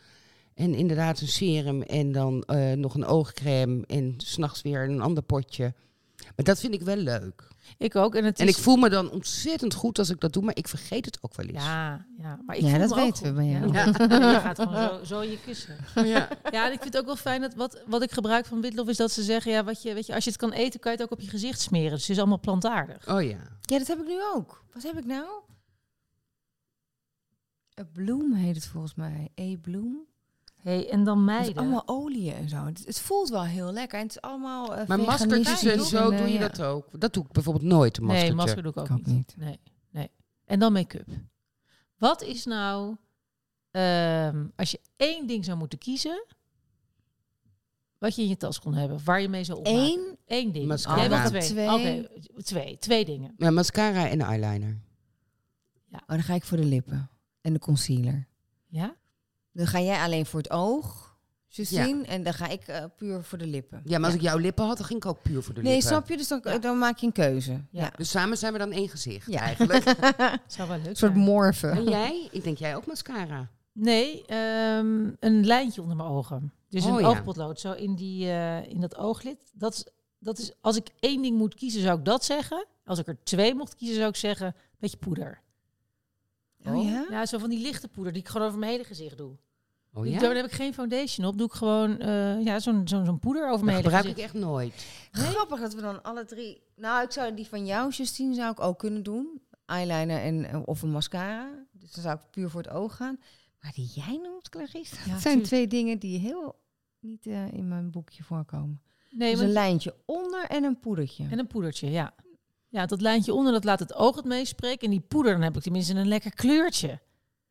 En inderdaad een serum en dan eh, nog een oogcrème en s'nachts weer een ander potje. Maar dat vind ik wel leuk. Ik ook. En, het En is- ik voel me dan ontzettend goed als ik dat doe, maar ik vergeet het ook wel eens. Ja, ja, maar ik Ja, voel dat me ook weten we goed. bij jou. Ja. Je gaat gewoon zo, zo in je kussen. Ja. Ja, en ik vind het ook wel fijn dat wat, wat ik gebruik van witlof is dat ze zeggen, ja, wat je, weet je, als je het kan eten, kan je het ook op je gezicht smeren. Dus het is allemaal plantaardig. Oh ja. Ja, dat heb ik nu ook. Wat heb ik nou? Een bloem heet het volgens mij. E-bloem. Hey, en dan Het is meiden. allemaal olieën en zo. Het, het voelt wel heel lekker. En het is allemaal eh, Maar maskertjes veganistisch en zo eh, doe je ja. dat ook. Dat doe ik bijvoorbeeld nooit, een maskertje. Nee, masker doe ik ook, Ik ook niet. niet. Nee, nee. En dan make-up. Wat is nou, ehm, als je één ding zou moeten kiezen, wat je in je tas kon hebben, of waar je mee zou opmaken? Eén. Eén ding. Mascara. Nee, wacht, twee. Twee. Oké, twee. Twee dingen. Ja, mascara en eyeliner. Oh, dan ga ik voor de lippen. En de concealer. Ja? Dan ga jij alleen voor het oog, Justine. En dan ga ik eh, puur voor de lippen. Ja, maar als ik jouw lippen had, dan ging ik ook puur voor de Nee, lippen. snap je? Dus dan, Ja. dan maak je een keuze. Ja. Dus samen zijn we dan één gezicht Ja. eigenlijk. Zou wel leuk Een soort zijn. morfen. En jij? Ik denk jij ook mascara. Nee, ehm, een lijntje onder mijn ogen. Dus Oh, een ja. oogpotlood, zo in, die, eh, in dat ooglid. Dat is, dat is, als ik één ding moet kiezen, zou ik dat zeggen. Als ik er twee mocht kiezen, zou ik zeggen, een beetje poeder. Oh ja? Ja, zo van die lichte poeder die ik gewoon over mijn hele gezicht doe. Oh Ik- ja? Daar heb ik geen foundation op. Doe ik gewoon eh, ja, zo'n zo'n zo'n poeder over Dat mijn hele gebruik ik gezicht. echt nooit. Grappig dat we dan alle drie... Nou, ik zou die van jou, Justine, zou ik ook kunnen doen. Eyeliner en, eh, of een mascara. Dus dan zou ik puur voor het oog gaan. Maar die jij noemt, Clarisse, Ja, dat zijn tuurlijk. twee dingen die heel niet eh, in mijn boekje voorkomen. Nee, dus maar- een lijntje onder en een poedertje. En een poedertje, ja. Ja, dat lijntje onder, dat laat het oog het meespreken. En die poeder, dan heb ik tenminste een lekker kleurtje.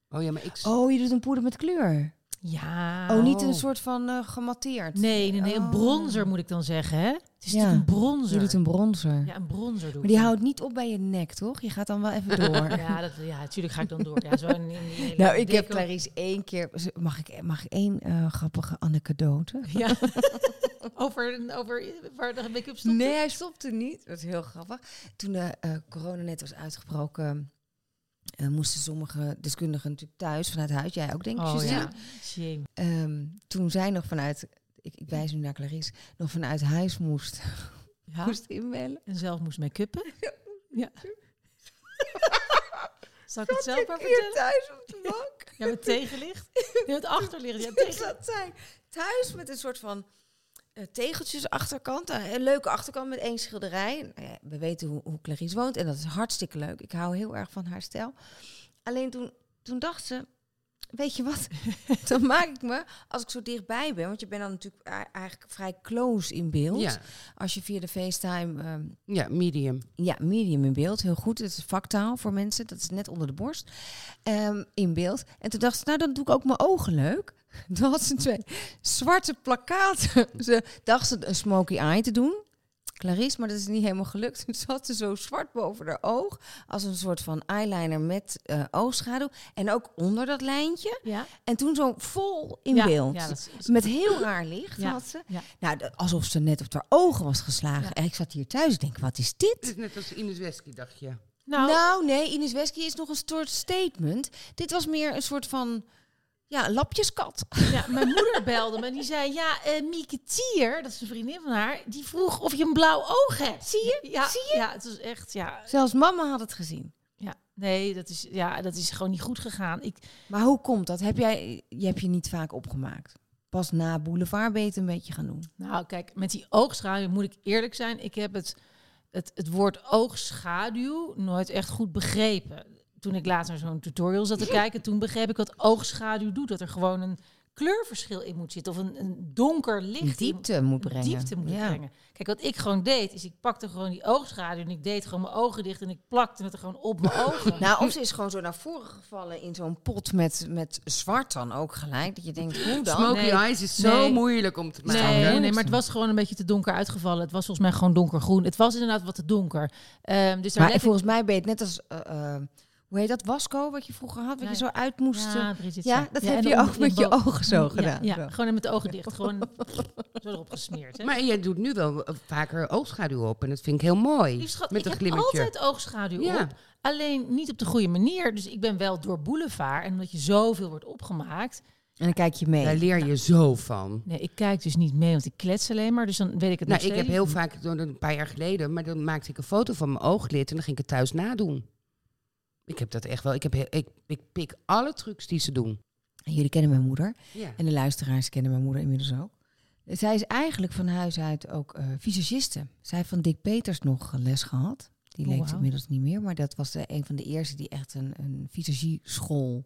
Oh ja, maar ik... Oh, je doet een poeder met kleur. Ja. Oh, niet een soort van eh, gematteerd. Nee, nee, nee, een Oh. bronzer moet ik dan zeggen, hè? Het is Ja. natuurlijk een bronzer. Je doet een bronzer. Ja, een bronzer doe Maar ik die dan. houdt niet op bij je nek, toch? Je gaat dan wel even door. Ja, dat, ja, natuurlijk ga ik dan door. Ja, zo in, in die hele Nou, ik heb dikke- Clarice één keer... Mag ik, mag ik één eh, grappige anekdote? Ja. over, over waar de make-up stond. Nee, hij stopte niet. Dat is heel grappig. Toen de eh, corona net was uitgebroken, eh, moesten sommige deskundigen natuurlijk thuis vanuit huis. Jij ook, denk ik. Oh Justine? ja, shame. Ehm, toen zij nog vanuit, ik, ik wijs nu naar Clarice, nog vanuit huis moest, Ja. moest inbellen. En zelf moest make-uppen. Ja. Zal ik het zelf maar Ik hier vertellen? thuis op de bank. Ja, met tegenlicht. Nee, met achterlicht. Ja, tegen... zat zij thuis met een soort van eh, tegeltjes achterkant. eh, Een leuke achterkant met één schilderij. Nou ja, we weten hoe, hoe Clarice woont en dat is hartstikke leuk. Ik hou heel erg van haar stijl. Alleen toen, toen dacht ze, weet je wat, dan maak ik me als ik zo dichtbij ben. Want je bent dan natuurlijk a- eigenlijk vrij close in beeld. Ja. Als je via de FaceTime ehm, ja, medium. ja, medium in beeld. Heel goed. Het is vaktaal voor mensen. Dat is net onder de borst. Ehm, in beeld. En toen dacht ze, nou dan doe ik ook mijn ogen leuk. Toen had ze twee zwarte plakkaten. ze dacht ze een smoky eye te doen. Clarice, maar dat is niet helemaal gelukt. Toen zat ze zo zwart boven haar oog. Als een soort van eyeliner met eh, oogschaduw. En ook onder dat lijntje. Ja. En toen zo vol in ja. beeld. Ja, dat is- Met heel raar licht Ja, had ze. ja. Nou, d- alsof ze net op haar ogen was geslagen. Ja. En ik zat hier thuis, ik denk, wat is dit? Het is net als Ines Wesky, dacht je. Nou, Nou, nee, Ines Wesky is nog een soort statement. Dit was meer een soort van ja, lapjeskat. ja, mijn moeder belde me en die zei... Ja, eh, Mieke Tier, dat is een vriendin van haar... die vroeg of je een blauw oog hebt. Zie je? Ja, Zie je? ja het was echt... Ja, Zelfs mama had het gezien. ja. Nee, dat is, ja, dat is gewoon niet goed gegaan. Ik, Maar hoe komt dat? Heb jij je hebt je niet vaak opgemaakt? Pas na Boulevard ben je het een beetje gaan doen. Nou, kijk, met die oogschaduw moet ik eerlijk zijn. Ik heb het, het, het woord oogschaduw nooit echt goed begrepen. Toen ik later zo'n tutorial zat te kijken, toen begreep ik wat oogschaduw doet. Dat er gewoon een kleurverschil in moet zitten. Of een, een donker licht. in- diepte moet brengen. Diepte moet Ja. brengen. Kijk, wat ik gewoon deed, is ik pakte gewoon die oogschaduw en ik deed gewoon mijn ogen dicht en ik plakte het er gewoon op mijn ogen. Nou, of ze is gewoon zo naar voren gevallen in zo'n pot met, met zwart dan ook gelijk. Dat je denkt, hoe dan? Smoky nee. eyes is zo Nee. moeilijk om te Nee, maken. nee, nee, maar het was gewoon een beetje te donker uitgevallen. Het was volgens mij gewoon donkergroen. Het was inderdaad wat te donker. Ehm, dus daar Maar let ik- volgens mij ben je het net als, eh, eh, hoe heet dat, wasco wat je vroeger had? Wat Ja, je zo ja. uit moest... eh, Ja, Bridget, Ja, ja. dat Ja, heb en je dan ook in met je bo- ogen zo Ja, gedaan. Ja, Zo. gewoon met de ogen dicht. Gewoon zo erop gesmeerd. Hè? Maar jij doet nu wel eh, vaker oogschaduw op. En dat vind ik heel mooi. Lief schat, met ik een heb glimmertje. altijd oogschaduw Ja. op. Alleen niet op de goede manier. Dus ik ben wel door boulevard. En omdat je zoveel wordt opgemaakt, En dan kijk je mee. Daar leer je zo van. Nee, ik kijk dus niet mee, want ik klets alleen maar. Dus dan weet ik het Nou, nog ik heb steeds heel niet. vaak, door- een paar jaar geleden, maar dan maakte ik een foto van mijn ooglid en dan ging ik het thuis nadoen. Ik heb dat echt wel. Ik, heb heel- ik, ik pik alle trucs die ze doen. En jullie kennen mijn moeder. Ja. En de luisteraars kennen mijn moeder inmiddels ook. Zij is eigenlijk van huis uit ook eh visagiste. Zij heeft van Dick Peters nog eh, les gehad. Die Oh, leeft wauw. inmiddels niet meer. Maar dat was de, een van de eerste die echt een, een visagieschool...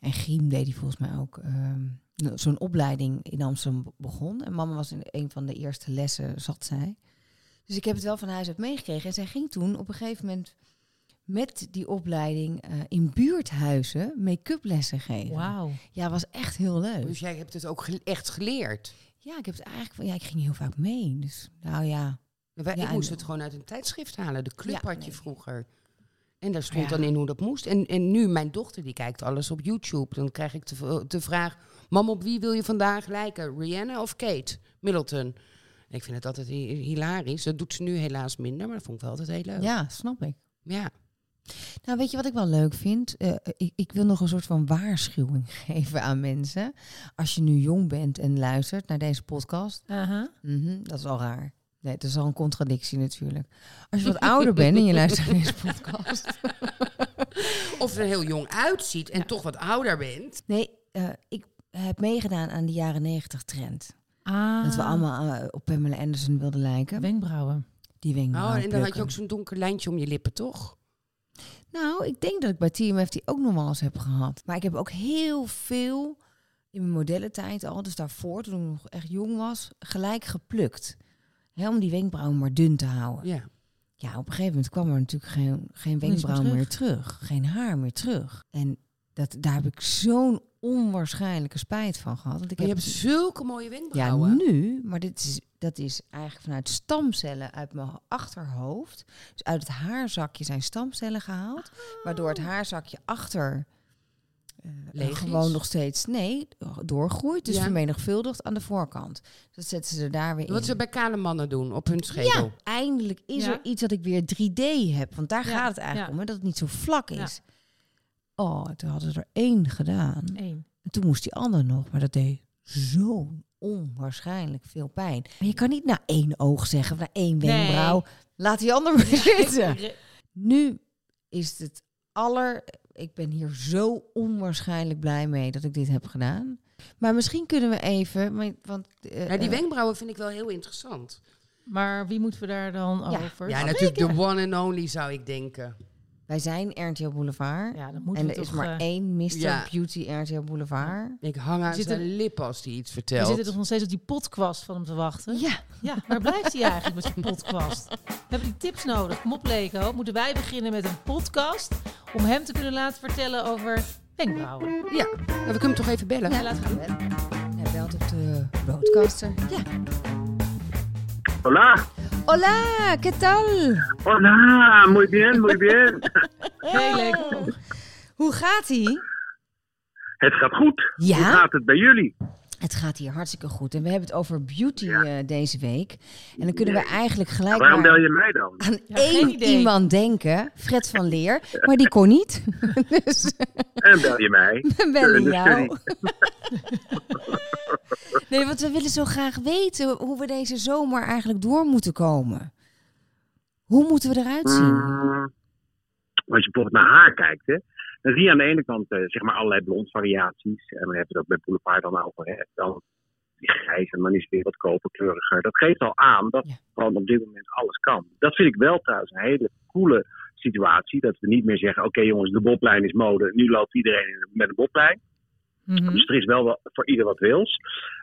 En Griem deed die volgens mij ook ehm, no- zo'n opleiding in Amsterdam be- begon. En mama was in een van de eerste lessen, zat zij. Dus ik heb het wel van huis uit meegekregen. En zij ging toen op een gegeven moment met die opleiding eh, in buurthuizen make-up lessen geven. Wauw. Ja, was echt heel leuk. Dus jij hebt het ook gel- echt geleerd. Ja, ik heb het eigenlijk van ja, ik ging heel vaak mee. Dus nou ja, Wij- Ja, ik moest en- het gewoon uit een tijdschrift halen. De club Ja, had je nee. vroeger. En daar stond Ja. dan in hoe dat moest. En, en nu, mijn dochter die kijkt alles op YouTube. Dan krijg ik de, v- de vraag... Mam, op wie wil je vandaag lijken? Rihanna of Kate Middleton? En ik vind het altijd hi- hilarisch. Dat doet ze nu helaas minder, maar dat vond ik wel altijd heel leuk. ja, snap ik. Ja. Nou, weet je wat ik wel leuk vind? Eh, ik, ik wil nog een soort van waarschuwing geven aan mensen. Als je nu jong bent en luistert naar deze podcast, Aha. mhm, dat is al raar. Nee, dat is al een contradictie natuurlijk. Als je wat ouder bent en je luistert naar deze podcast. Of er heel jong uitziet en toch wat ouder bent. Nee, eh, ik heb meegedaan aan de jaren negentig trend. Ah. Dat we allemaal eh, op Pamela Anderson wilden lijken. Wenkbrauwen. Die wing. Oh, en dan had je ook zo'n donker lijntje om je lippen, toch? Nou, ik denk dat ik bij TMF die ook nog wel eens heb gehad. Maar ik heb ook heel veel in mijn modellentijd al, dus daarvoor, toen ik nog echt jong was, gelijk geplukt. Hè, om die wenkbrauwen maar dun te houden. Ja. Ja, op een gegeven moment kwam er natuurlijk geen, geen meer wenkbrauw terug. meer terug. Geen haar meer terug. En dat, daar heb ik zo'n onwaarschijnlijke spijt van gehad. Want ik Maar je heb hebt zulke mooie ja, wenkbrauwen. nu, maar dit is, dat is eigenlijk vanuit stamcellen uit mijn achterhoofd. Dus uit het haarzakje zijn stamcellen gehaald. Oh. Waardoor het haarzakje achter eh, Leeg is. gewoon nog steeds, nee, doorgroeit. Dus Ja. vermenigvuldigd aan de voorkant. Dus dat zetten ze er daar weer Wat in. ze bij kale mannen doen op hun schedel. Ja, eindelijk is Ja. er iets dat ik weer 3D heb. Want daar Ja, gaat het eigenlijk ja. om, hè, dat het niet zo vlak Ja. is. Oh, toen hadden ze er één gedaan. Eén. En toen moest die ander nog, maar dat deed zo onwaarschijnlijk veel pijn. Maar je kan niet naar één oog zeggen, of naar één Nee. wenkbrauw. Laat die ander maar zitten. Re- Nu is het aller... Ik ben hier zo onwaarschijnlijk blij mee dat ik dit heb gedaan. Maar misschien kunnen we even... maar- Want, eh, Nou, die eh, wenkbrauwen vind ik wel heel interessant. Maar wie moeten we daar dan Ja. over? Ja, natuurlijk de one and only zou ik denken. wij zijn RTL Boulevard. Ja, dan moeten en we er is toch, maar eh, één Mr. ja. Beauty RTL Boulevard. Ik hang aan Zit zijn er- lippen als hij iets We vertelt. zitten toch nog steeds op die potkwast van hem te wachten. Ja, Ja, waar blijft hij eigenlijk met zijn podcast? We hebben die tips nodig. Kom op, Lego. Moeten wij beginnen met een podcast om hem te kunnen laten vertellen over wenkbrauwen? Ja, nou, we kunnen hem toch even bellen? ja laten we doen. Hij belt op de broadcaster. Ja. Hola, Hola, ¿qué tal? hola, muy bien, muy bien. Heel leuk. Hoe gaat ie? Het gaat goed. Hoe Ja, gaat het bij jullie? het gaat hier hartstikke goed. En we hebben het over beauty eh, deze week. En dan kunnen we eigenlijk gelijk Waarom maar bel je mij dan? aan Ja, geen één idee. iemand denken. Fred van Leer. Maar die kon niet. dus En bel je mij? we bellen dus jou. nee, want we willen zo graag weten hoe we deze zomer eigenlijk door moeten komen. Hoe moeten we eruit zien? Mm, Als je bijvoorbeeld naar haar kijkt, hè, dan zie je aan de ene kant eh, zeg maar allerlei blond variaties. En we hebben het ook bij Boulevard dan over. Hè. Dan die grijs en dan is het weer wat koperkleuriger. Dat geeft al aan dat Ja. gewoon op dit moment alles kan. Dat vind ik wel trouwens een hele coole situatie. Dat we niet meer zeggen, oké jongens, de boblijn is mode. Nu loopt iedereen in- met een boblijn. Mhm. Dus er is wel wat- voor ieder wat wils.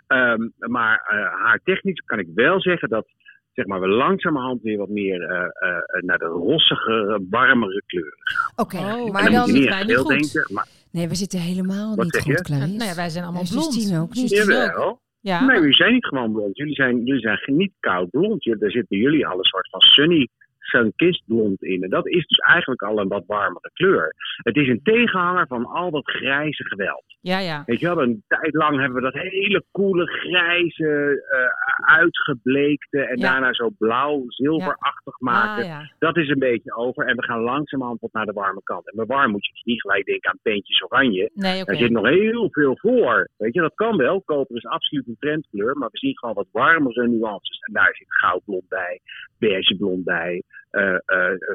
Ehm, maar eh, haar technisch kan ik wel zeggen dat zeg maar, we langzamerhand weer wat meer eh, eh, eh, naar de rossigere, warmere kleuren. Oké, Oh, en maar dan moet je dan... niet wij echt niet veel goed. denken. Maar Nee, we zitten helemaal Wat niet zeg je? goed, Clarice. Nou ja, wij zijn allemaal En blond. Justine ook niet. Justine ook. jawel. Ja. Nee, jullie zijn niet gewoon blond. Jullie zijn, jullie zijn geen- niet koud blond. Je- Daar zit bij jullie al een soort van sunny, sunkist blond in. En dat is dus eigenlijk al een wat warmere kleur. Het is een tegenhanger van al dat grijze geweld. ja, ja. Weet je wel, een tijd lang hebben we dat hele coole grijze eh, uitgebleekte en Ja. daarna zo blauw, zilverachtig maken. Ah, ja. Dat is een beetje over en we gaan langzamerhand wat naar de warme kant. En bij warm moet je dus niet gelijk denken aan peentjes oranje. Nee, oké. Daar zit nog heel veel voor. Weet je, dat kan wel. Koper is absoluut een trendkleur. Maar we zien gewoon wat warmere nuances. En daar zit goudblond bij, beige blond bij. eh, eh,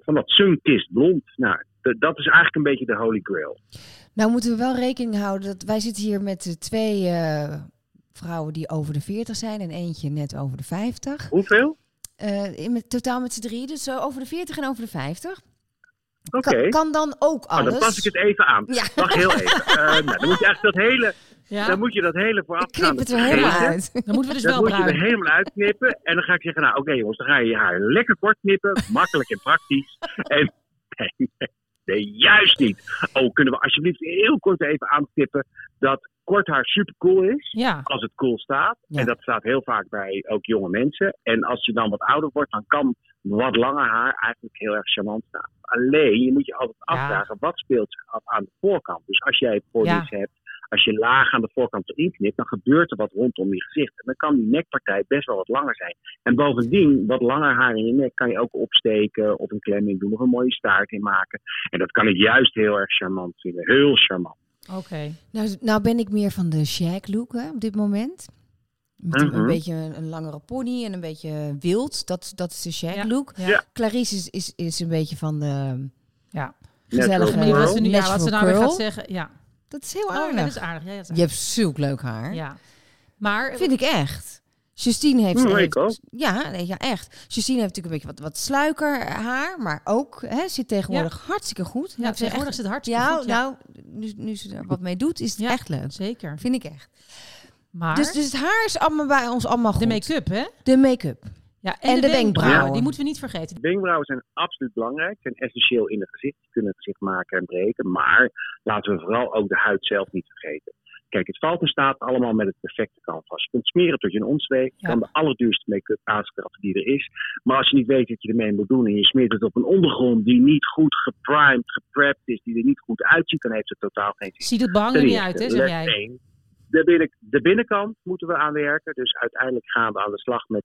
van dat sunkist blond. Nou, d- dat is eigenlijk een beetje de holy grail. Nou moeten we wel rekening houden dat wij zitten hier met eh, twee eh, vrouwen die over de 40 zijn en eentje net over de 50. Hoeveel? Eh, in met, totaal met z'n drie, dus zo over de 40 en over de 50. Oké. Kan, kan dan ook Oh, alles. dan pas ik het even aan. Ja. Wacht heel even. Eh, nou, dan moet je eigenlijk dat hele, Ja, dan moet je dat hele vooraf Ik knip het er helemaal uit. dan moeten we dus Dat wel moet je bruin. er helemaal uitknippen. En dan ga ik zeggen, nou oké jongens, dan ga je je haar lekker kort knippen. makkelijk en praktisch. En nee, nee, nee, juist niet. Oh, kunnen we alsjeblieft heel kort even aantippen dat kort haar super cool is. Ja, Als het cool staat. Ja. En dat staat heel vaak bij ook jonge mensen. En als je dan wat ouder wordt, dan kan wat langer haar eigenlijk heel erg charmant staan. Alleen, je moet je altijd afvragen, wat speelt zich af aan de voorkant? Dus als jij pony's hebt, als je laag aan de voorkant erin knipt, dan gebeurt er wat rondom je gezicht. En dan kan die nekpartij best wel wat langer zijn. En bovendien, wat langer haar in je nek kan je ook opsteken of een klem in doen of een mooie staart in maken. En dat kan ik juist heel erg charmant vinden. Heel charmant. oké. Nou, nou ben ik meer van de shag look hè, op dit moment. Met een, Mhm. een beetje een, een langere pony en een beetje wild. Dat, dat is de shag Ja. look. Ja. Ja. Clarice is, is, is een beetje van de... Ja. Gezellig, Natural Maar wat girl. ze, nu, ja, wat ze nou weer Curl. gaat zeggen. Ja, Dat is heel oh, ja, dat aardig. is aardig. Ja, dat is Je aardig. hebt zulk leuk haar. Ja. Maar eh, Vind ik echt. Justine heeft... Hm, ik heeft- ook. Ja, nee, ja, echt. Justine heeft natuurlijk een beetje wat, wat sluiker haar. Maar ook hè, zit tegenwoordig hartstikke goed. ja, Nou, ze is tegenwoordig zit het echt- hartstikke ja, goed. Ja, nou, nu, nu ze er wat mee doet, is het Ja. echt leuk. zeker. Vind ik echt. Maar Dus, dus het haar is allemaal bij ons allemaal goed. de make-up, hè? De make-up. Ja, en, En de, de wenkbrauwen. wenkbrauwen. Die moeten we niet vergeten. Wenkbrauwen zijn absoluut belangrijk, zijn essentieel in het gezicht. Ze kunnen het gezicht maken en breken. Maar laten we vooral ook de huid zelf niet vergeten. Kijk, het valt in staat allemaal met het perfecte canvas. Je kunt smeren tot je een ons zweet. Je Ja. kan de allerduurste make-up aanschaffen die er is. Maar als je niet weet wat je ermee moet doen en je smeert het op een ondergrond die niet goed geprimed, geprept is, die er niet goed uitziet, dan heeft het totaal geen zin. Ziet het behang er Ten niet eerste, uit, hè, zeg les jij. één. De, binnen- de binnenkant moeten we aan werken. Dus uiteindelijk gaan we aan de slag met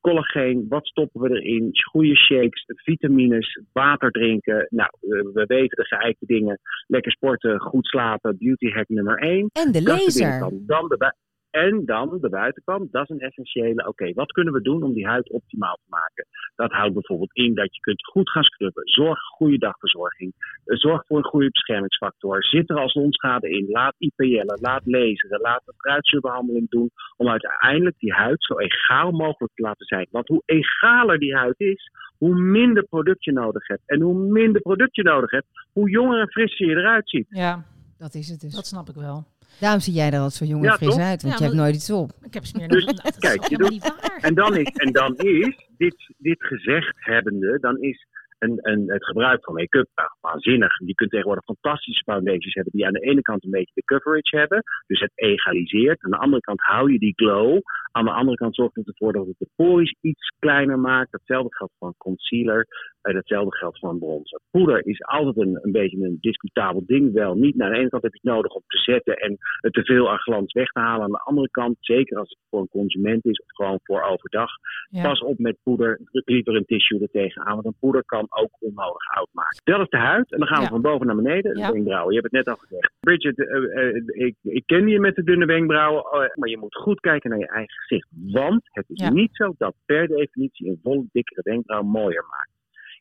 collageen. Wat stoppen we erin? Goede shakes, vitamines, water drinken. Nou, eh, we weten de geëikte dingen. Lekker sporten, goed slapen. Beauty hack nummer één. En de Dat is de laser. binnenkant. Dan de bui- en dan de buitenkant, dat is een essentiële. Oké, wat kunnen we doen om die huid optimaal te maken? Dat houdt bijvoorbeeld in dat je kunt goed gaan scrubben. Zorg voor goede dagverzorging. Eh, Zorg voor een goede beschermingsfactor. Zit er als onschade in. Laat IPL'en, laat laseren, laat een fruitzuurbehandeling doen. Om uiteindelijk die huid zo egaal mogelijk te laten zijn. Want hoe egaler die huid is, hoe minder product je nodig hebt. En hoe minder product je nodig hebt, hoe jonger en frisser je eruit ziet. Ja, Dat is het dus. dat snap ik wel. Daarom zie jij er altijd zo jong en Ja, fris toch? uit, want Ja, je hebt maar- nooit iets op. Ik heb smeer Dus, nou, dat is kijk, ook je helemaal niet waar. En dan is, en dan is dit, dit gezegd hebbende, dan is een, een, het gebruik van make-up nou, waanzinnig. Je kunt tegenwoordig fantastische foundations hebben die aan de ene kant een beetje de coverage hebben. Dus het egaliseert. Aan de andere kant hou je die glow. Aan de andere kant zorgt het ervoor dat het de pories iets kleiner maakt. Datzelfde geldt voor een concealer. eh, datzelfde geldt voor een bronzer. Poeder is altijd een, een beetje een discutabel ding. Wel niet. Nou, aan de ene kant heb je het nodig om te zetten en het teveel aan glans weg te halen. Aan de andere kant, zeker als het voor een consument is of gewoon voor overdag, Ja. pas op met poeder. Druk liever een tissue er tegenaan, want een poeder kan ook onnodig oud maken. Dat is de huid en dan gaan we Ja. van boven naar beneden. De Ja. wenkbrauwen, je hebt het net al gezegd. Bridget, eh, eh, ik, ik ken je met de dunne wenkbrauwen, eh, maar je moet goed kijken naar je eigen gezicht. Want het is Ja. niet zo dat per definitie een volle, dikkere wenkbrauw mooier maakt.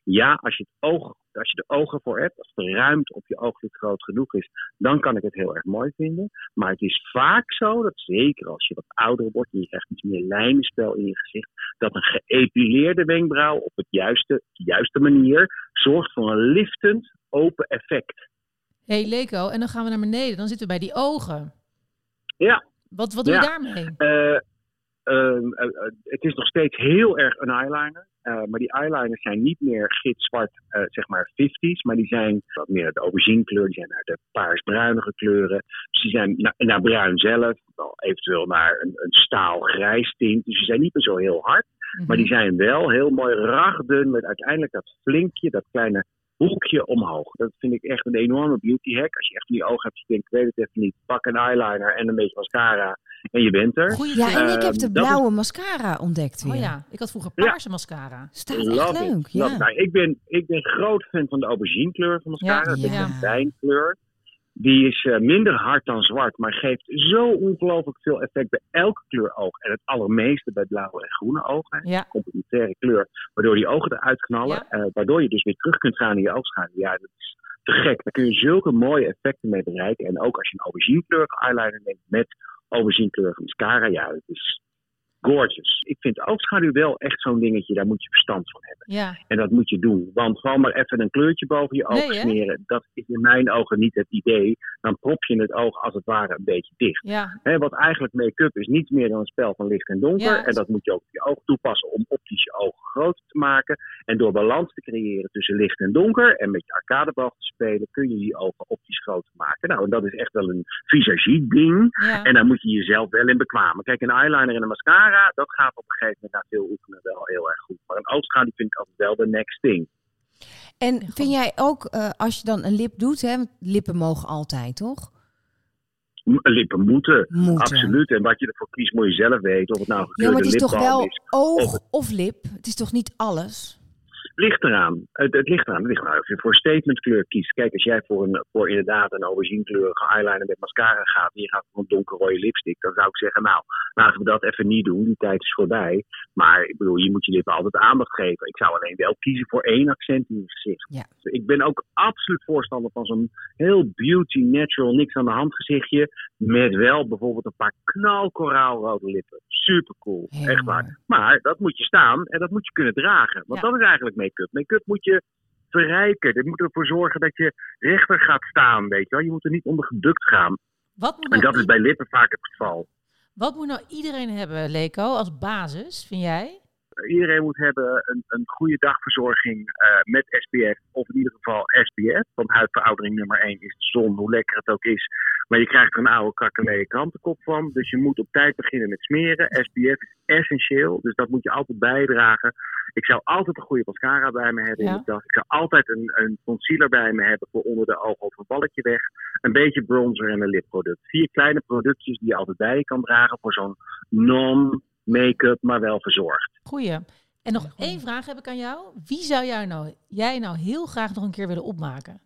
Ja, als je, het oog, als je de ogen voor hebt, als de ruimte op je ooglid groot genoeg is, dan kan ik het heel erg mooi vinden. Maar het is vaak zo dat, zeker als je wat ouder wordt en je krijgt iets meer lijnenspel in je gezicht, dat een geëpileerde wenkbrauw op het juiste, de juiste manier zorgt voor een liftend open effect. hey, Leko, en dan gaan we naar beneden. Dan zitten we bij die ogen. Ja. Wat, wat doe Ja. je daarmee? Eh, ehm, eh, eh, het is nog steeds heel erg een eyeliner. Eh, maar die eyeliners zijn niet meer gitzwart, eh, zeg maar 50s. Maar die zijn wat meer uit de aubergine kleur. Die zijn uit de paarsbruinige kleuren. Dus die zijn na- naar bruin zelf. Wel eventueel naar een, een staalgrijs tint. Dus die zijn niet meer zo heel hard. Mhm. Maar die zijn wel heel mooi ragdun met uiteindelijk dat flinkje, dat kleine hoekje omhoog. Dat vind ik echt een enorme beauty hack. Als je echt van die ogen hebt, die denkt, ik weet het even niet, pak een eyeliner en een beetje mascara en je bent er. Goeie Ja, tip. en ik heb de Ehm, dat blauwe mascara ontdekt weer. Oh ja, ik had vroeger Ja. paarse mascara. Staat echt it, leuk. love Ja. it. Nou, ik, ben, ik ben groot fan van de auberginekleur van mascara. Ja, Dat is ja. een wijnkleur. Die is eh, minder hard dan zwart, maar geeft zo ongelooflijk veel effect bij elke kleur oog. En het allermeeste bij blauwe en groene ogen. hè. Ja. Complementaire kleur, waardoor die ogen eruit knallen. eh, waardoor je dus weer terug kunt gaan in je oogschaduw. Ja, dat is te gek. Daar kun je zulke mooie effecten mee bereiken. En ook als je een auberginekleurige eyeliner neemt met auberginekleurige mascara. Ja, het is gorgeous. Ik vind oogschaduw wel echt zo'n dingetje, daar moet je verstand van hebben. Ja, En dat moet je doen. Want gewoon maar even een kleurtje boven je oog Nee, hè? smeren, dat is in mijn ogen niet het idee. Dan prop je het oog als het ware een beetje dicht. ja, Hè, want eigenlijk make-up is niets meer dan een spel van licht en donker. Ja. En dat moet je ook op je oog toepassen om optisch je ogen groter te maken. En door balans te creëren tussen licht en donker en met je arcadeboog te spelen, kun je je ogen optisch groter maken. Nou, en dat is echt wel een visagie-ding. ja. En daar moet je jezelf wel in bekwamen. Kijk, een eyeliner en een mascara, dat gaat op een gegeven moment na veel oefenen wel heel erg goed. Maar een oogschaduw vind ik altijd wel de next thing. En vind jij ook, eh, als je dan een lip doet, hè, want lippen mogen altijd, toch? M- Lippen moeten, Moeten. absoluut. En wat je ervoor kiest moet je zelf weten. Of het nou een Ja, gekleurde maar het is toch lipbalm wel is. Oh. oog of lip? Het is toch niet alles? Ligt eraan. Het, het ligt eraan. Het ligt eraan of je voor statementkleur kiest. Kijk, als jij voor, een, voor inderdaad een auberginekleurige eyeliner met mascara gaat... en je gaat voor een donkerrode lipstick... dan zou ik zeggen, nou, laten we dat even niet doen. Die tijd is voorbij. Maar ik bedoel, je moet je lippen altijd aandacht geven. Ik zou alleen wel kiezen voor één accent in je gezicht. Ja. Dus ik ben ook absoluut voorstander van zo'n heel beauty, natural, niks aan de hand gezichtje... met wel bijvoorbeeld een paar knalkoraalrode lippen. Supercool, Heel echt waar. mooi. Maar dat moet je staan en dat moet je kunnen dragen. Want Ja. dat is eigenlijk make-up. Make-up moet je verrijken. Er moet ervoor zorgen dat je rechter gaat staan, weet je wel. Je moet er niet onder gedukt gaan. Wat moet, En nou dat is i- bij lippen vaak het geval. wat moet nou iedereen hebben, Leko, als basis, vind jij? Iedereen moet hebben een, een goede dagverzorging eh, met SPF. Of in ieder geval SPF. Want huidveroudering nummer 1 is de zon, hoe lekker het ook is. Maar je krijgt er een oude kakkelee krantenkop van. Dus je moet op tijd beginnen met smeren. SPF is essentieel. Dus dat moet je altijd bijdragen. Ik zou altijd een goede mascara bij me hebben Ja. in de tas. Ik zou altijd een, een concealer bij me hebben voor onder de ogen of een balletje weg. Een beetje bronzer en een lipproduct. Vier kleine productjes die je altijd bij je kan dragen voor zo'n non-make-up, maar wel verzorgd. Goeie. En nog één vraag heb ik aan jou. Wie zou jij nou, jij nou heel graag nog een keer willen opmaken?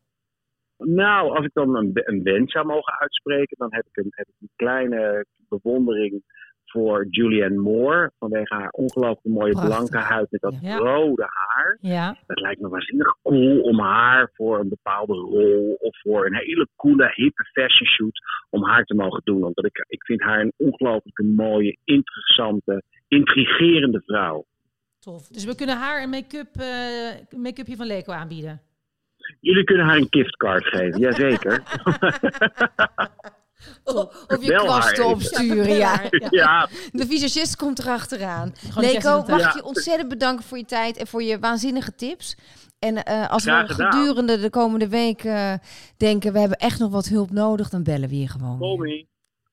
Nou, als ik dan een, een wens zou mogen uitspreken, dan heb ik een, heb ik een kleine bewondering voor Julianne Moore. Vanwege haar ongelooflijk mooie Prachtig. blanke huid met dat Ja. rode haar. Ja, Het lijkt me waanzinnig cool om haar voor een bepaalde rol of voor een hele coole, hippe fashion shoot om haar te mogen doen. Omdat ik, ik vind haar een ongelooflijk mooie, interessante, intrigerende vrouw. tof. Dus we kunnen haar een make-up eh, make-upje van Leko aanbieden. Jullie kunnen haar een giftcard geven, jazeker. Of, of je Bel haar kwasten even. opsturen, ja. ja, De visagist komt erachteraan. een tekst aan Leko, de mag ik tafel. je ontzettend bedanken voor je tijd en voor je waanzinnige tips. En eh, als we Graag gedaan. gedurende de komende week eh, denken, we hebben echt nog wat hulp nodig, dan bellen we je gewoon. call weer.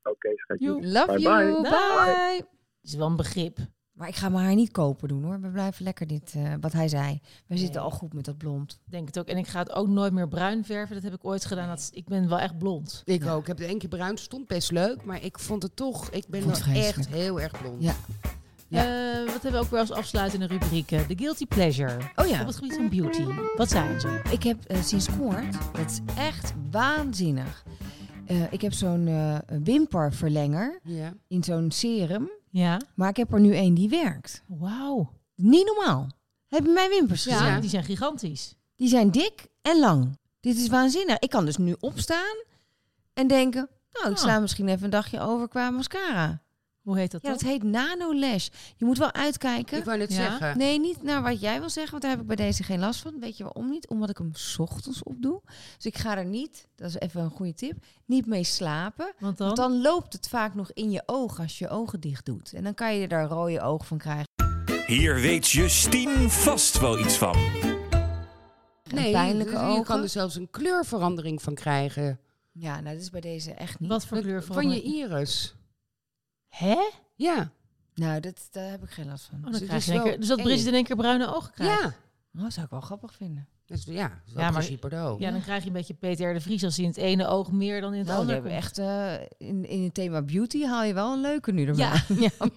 me. Oké, schatje. Love Bye you, bye. bye. Dat is wel een begrip. Maar ik ga mijn haar niet kopen doen hoor. We blijven lekker dit, eh, wat hij zei. We zitten Nee. al goed met dat blond. Denk het ook. En ik ga het ook nooit meer bruin verven. Dat heb ik ooit gedaan. Dat is- ik ben wel echt blond. Ik ook. Ik heb het één keer bruin. Stond best leuk. Maar ik vond het toch... Ik ben Vond het wel echt vreselijk. heel erg blond. Ja. Ja. Eh, wat hebben we ook weer als afsluitende rubriek? eh, De guilty pleasure. Oh ja, Op het gebied van beauty. Wat zijn ze? ik heb eh, sinds kort, dat is echt waanzinnig. Eh, ik heb zo'n eh, wimperverlenger Ja. in zo'n serum. Ja. Maar ik heb er nu één die werkt. Wauw. Niet normaal. Heb je mijn wimpers gezien? Ja, die zijn gigantisch. Die zijn dik en lang. Dit is waanzinnig. Ik kan dus nu opstaan en denken... Nou, ik Ah. sla misschien even een dagje over qua mascara. Hoe heet dat Ja, dan? dat heet Nano Lash. Je moet wel Ik uitkijken. wou net Ja. zeggen. Nee, niet naar wat jij wil zeggen, want daar heb ik bij deze geen last van. Weet je waarom niet? Omdat ik hem 's ochtends opdoe. Dus ik ga er niet, dat is even een goede tip, niet mee slapen. Want dan? Want dan loopt het vaak nog in je ogen als je je ogen dicht doet. En dan kan je er daar rode oog van krijgen. Hier weet Justine vast wel iets van. En pijnlijke dus je, ogen. kan er zelfs een kleurverandering van krijgen. Ja, nou, dat is bij deze echt niet. Wat voor kleur Van je iris. Hè? Ja. Nou, dat, daar heb ik geen last van. Oh, Dus dan het krijg is je in één wel keer, dus dat eng. Dus- Bridget in één keer bruine ogen krijgt. Ja. Oh, zou ik wel grappig vinden. Dus ja, dat is wel Ja, maar- principe er ook. Ja, dan krijg je een beetje Peter R. de Vries als hij in het ene oog meer dan in het Nou, we andere. hebben komt. echt eh, in, in het thema beauty haal je wel een leuke nu erbij. Ja. nou,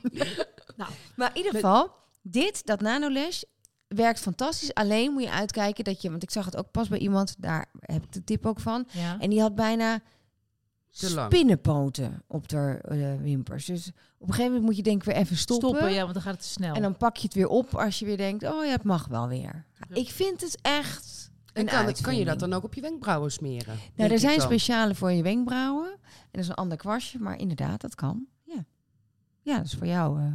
Nou, maar in ieder geval, dit, dat nanolash, werkt fantastisch. Alleen moet je uitkijken dat je, want ik zag het ook pas bij iemand, daar heb ik de tip ook van. Ja. En die had bijna Te lang. spinnenpoten op haar eh, wimpers. Dus op een gegeven moment moet je denk ik weer even stoppen. Stoppen, ja, want dan gaat het te snel. En dan pak je het weer op als je weer denkt, oh ja, het mag wel weer. Ik vind het echt En een kan, kan je uitvinding. dat dan ook op je wenkbrauwen smeren? Nou, Denk er ik zijn dan. speciale voor je wenkbrauwen. En dat is een ander kwastje, maar inderdaad, dat kan. Ja, ja dat is voor jou. eh.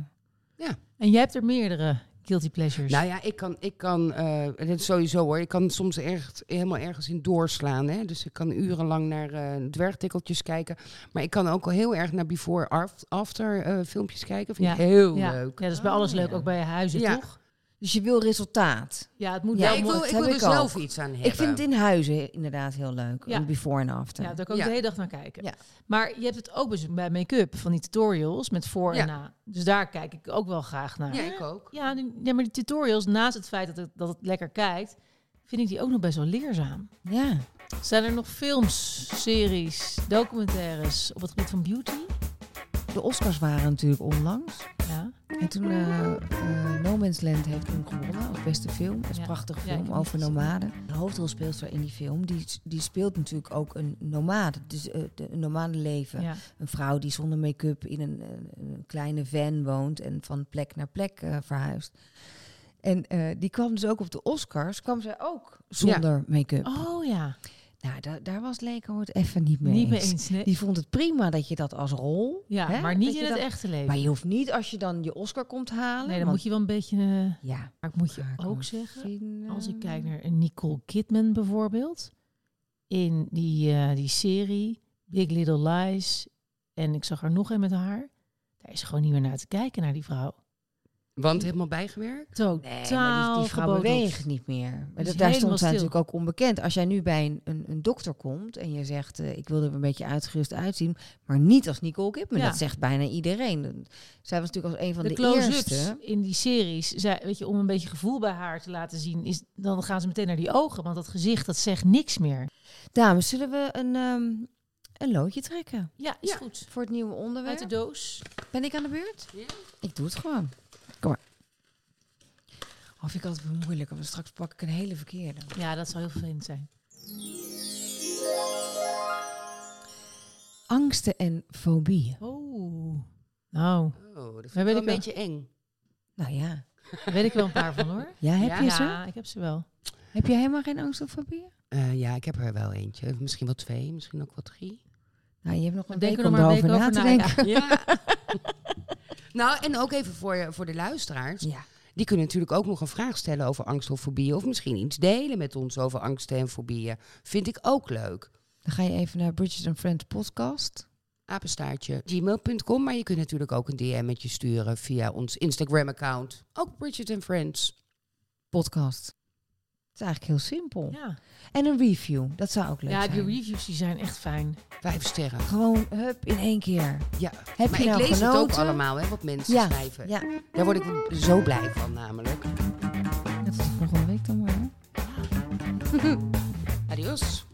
En jij hebt er meerdere guilty pleasures. Nou ja, ik kan, ik kan eh, dat is sowieso hoor, ik kan soms echt helemaal ergens in doorslaan. Hè? Dus ik kan urenlang naar eh, dwergtikkeltjes kijken. Maar ik kan ook al heel erg naar before af- after eh, filmpjes kijken. Vind ik Ja. heel ja. leuk. Oh, Ja, dat is bij alles leuk, ook bij je huizen, Ja. toch? Dus je wil resultaat. Ja, het moet Ja, wel ik mooi. wil, dat ik wil heb er ik zelf ook. iets aan hebben. Ik vind het in huizen inderdaad heel leuk. Ja. Een before en after. Ja, daar kan ik Ja. de hele dag naar kijken. Ja. Maar je hebt het ook dus bij make-up van die tutorials met voor Ja. en na. Dus daar kijk ik ook wel graag naar. Ja, ik ook. Ja, die- ja, maar die tutorials, naast het feit dat het, dat het lekker kijkt, vind ik die ook nog best wel leerzaam. ja. Zijn er nog films, series, documentaires op het gebied van beauty? De Oscars waren natuurlijk onlangs. Ja. En toen eh, eh, No Man's Land heeft hem gewonnen als beste film. Dat is Ja. een prachtige Ja, ik film heb over niet gezien. nomaden. De hoofdrolspeelster in die film, die, die speelt natuurlijk ook een nomade. Dus eh, de, een nomadenleven. ja. Een vrouw die zonder make-up in een, eh, een kleine van woont en van plek naar plek eh, verhuist. En eh, die kwam dus ook op de Oscars, kwam zij ook zonder make-up. Oh ja, Nou, da- daar was Leko het even niet mee niet mee eens. eens. nee. Die vond het prima dat je dat als rol... Ja, hè, maar niet dat in je het dat- echte leven. Maar je hoeft niet als je dan je Oscar komt halen. nee, dan want- Ah, moet je wel een beetje... eh, Ja, maar ik moet je ga ik wel ook zeggen, vinden. Als ik kijk naar een Nicole Kidman bijvoorbeeld. In die, eh, die serie Big Little Lies. En ik zag er nog een met haar. Daar is gewoon niet meer naar te kijken, naar die vrouw. Want helemaal bijgewerkt? Nee, Totaal maar die, die vrouw gebotoxed. beweegt niet meer. is Maar dat, daar helemaal stond zij stil. natuurlijk ook onbekend. Als jij nu bij een, een, een dokter komt en je zegt... eh, ik wil er een beetje uitgerust uitzien... maar niet als Nicole Kidman. Ja. Dat zegt bijna iedereen. Dan- Zij was natuurlijk als een van de, De close-ups eerste. in die series, zij, weet je, om een beetje gevoel bij haar te laten zien, is, dan gaan ze meteen naar die ogen, want dat gezicht, dat zegt niks meer. Dames, zullen we een, ehm, een loodje trekken? Ja, is Ja. goed. Voor het nieuwe Uit de onderwerp. doos. Ben ik aan de beurt? Ja. Ik doe het gewoon. Kom maar. Oh, vind ik altijd wel moeilijk, want straks pak ik een hele verkeerde. Ja, dat zou heel vervelend zijn. Angsten en fobieën. Oh. Nou, Oh, dat vind ik wel ben ik een wel. beetje eng. Nou ja. daar weet ik wel een paar van hoor. Ja, heb Ja. je ze? Ja, ik heb ze wel. Heb je helemaal geen angst of fobieën? Eh, ja, ik heb er wel eentje. Misschien wel twee, misschien ook wel drie. Nou, je hebt nog een Denk week er om nog maar een erover na week te over na, denken. Ja. nou, en ook even voor, voor de luisteraars. Ja. Die kunnen natuurlijk ook nog een vraag stellen over angst of fobieën. Of misschien iets delen met ons over angsten en fobieën. Vind ik ook leuk. Dan ga je even naar Bridges and Friends podcast. Apenstaartje gmail.com. Maar je kunt natuurlijk ook een DM'tje sturen via ons Instagram-account. Ook Bridget and Friends. Podcast. Het is eigenlijk heel simpel. Ja, En een review. Dat zou ook leuk ja die zijn. reviews die zijn echt fijn. Vijf sterren. Gewoon, hup, in één keer. Ja. Heb maar je ik nou lees genoten? het ook allemaal, hè, wat mensen Ja, schrijven. ja. Daar word ik zo blij van, namelijk. Dat is volgende week dan maar. hè? Adios.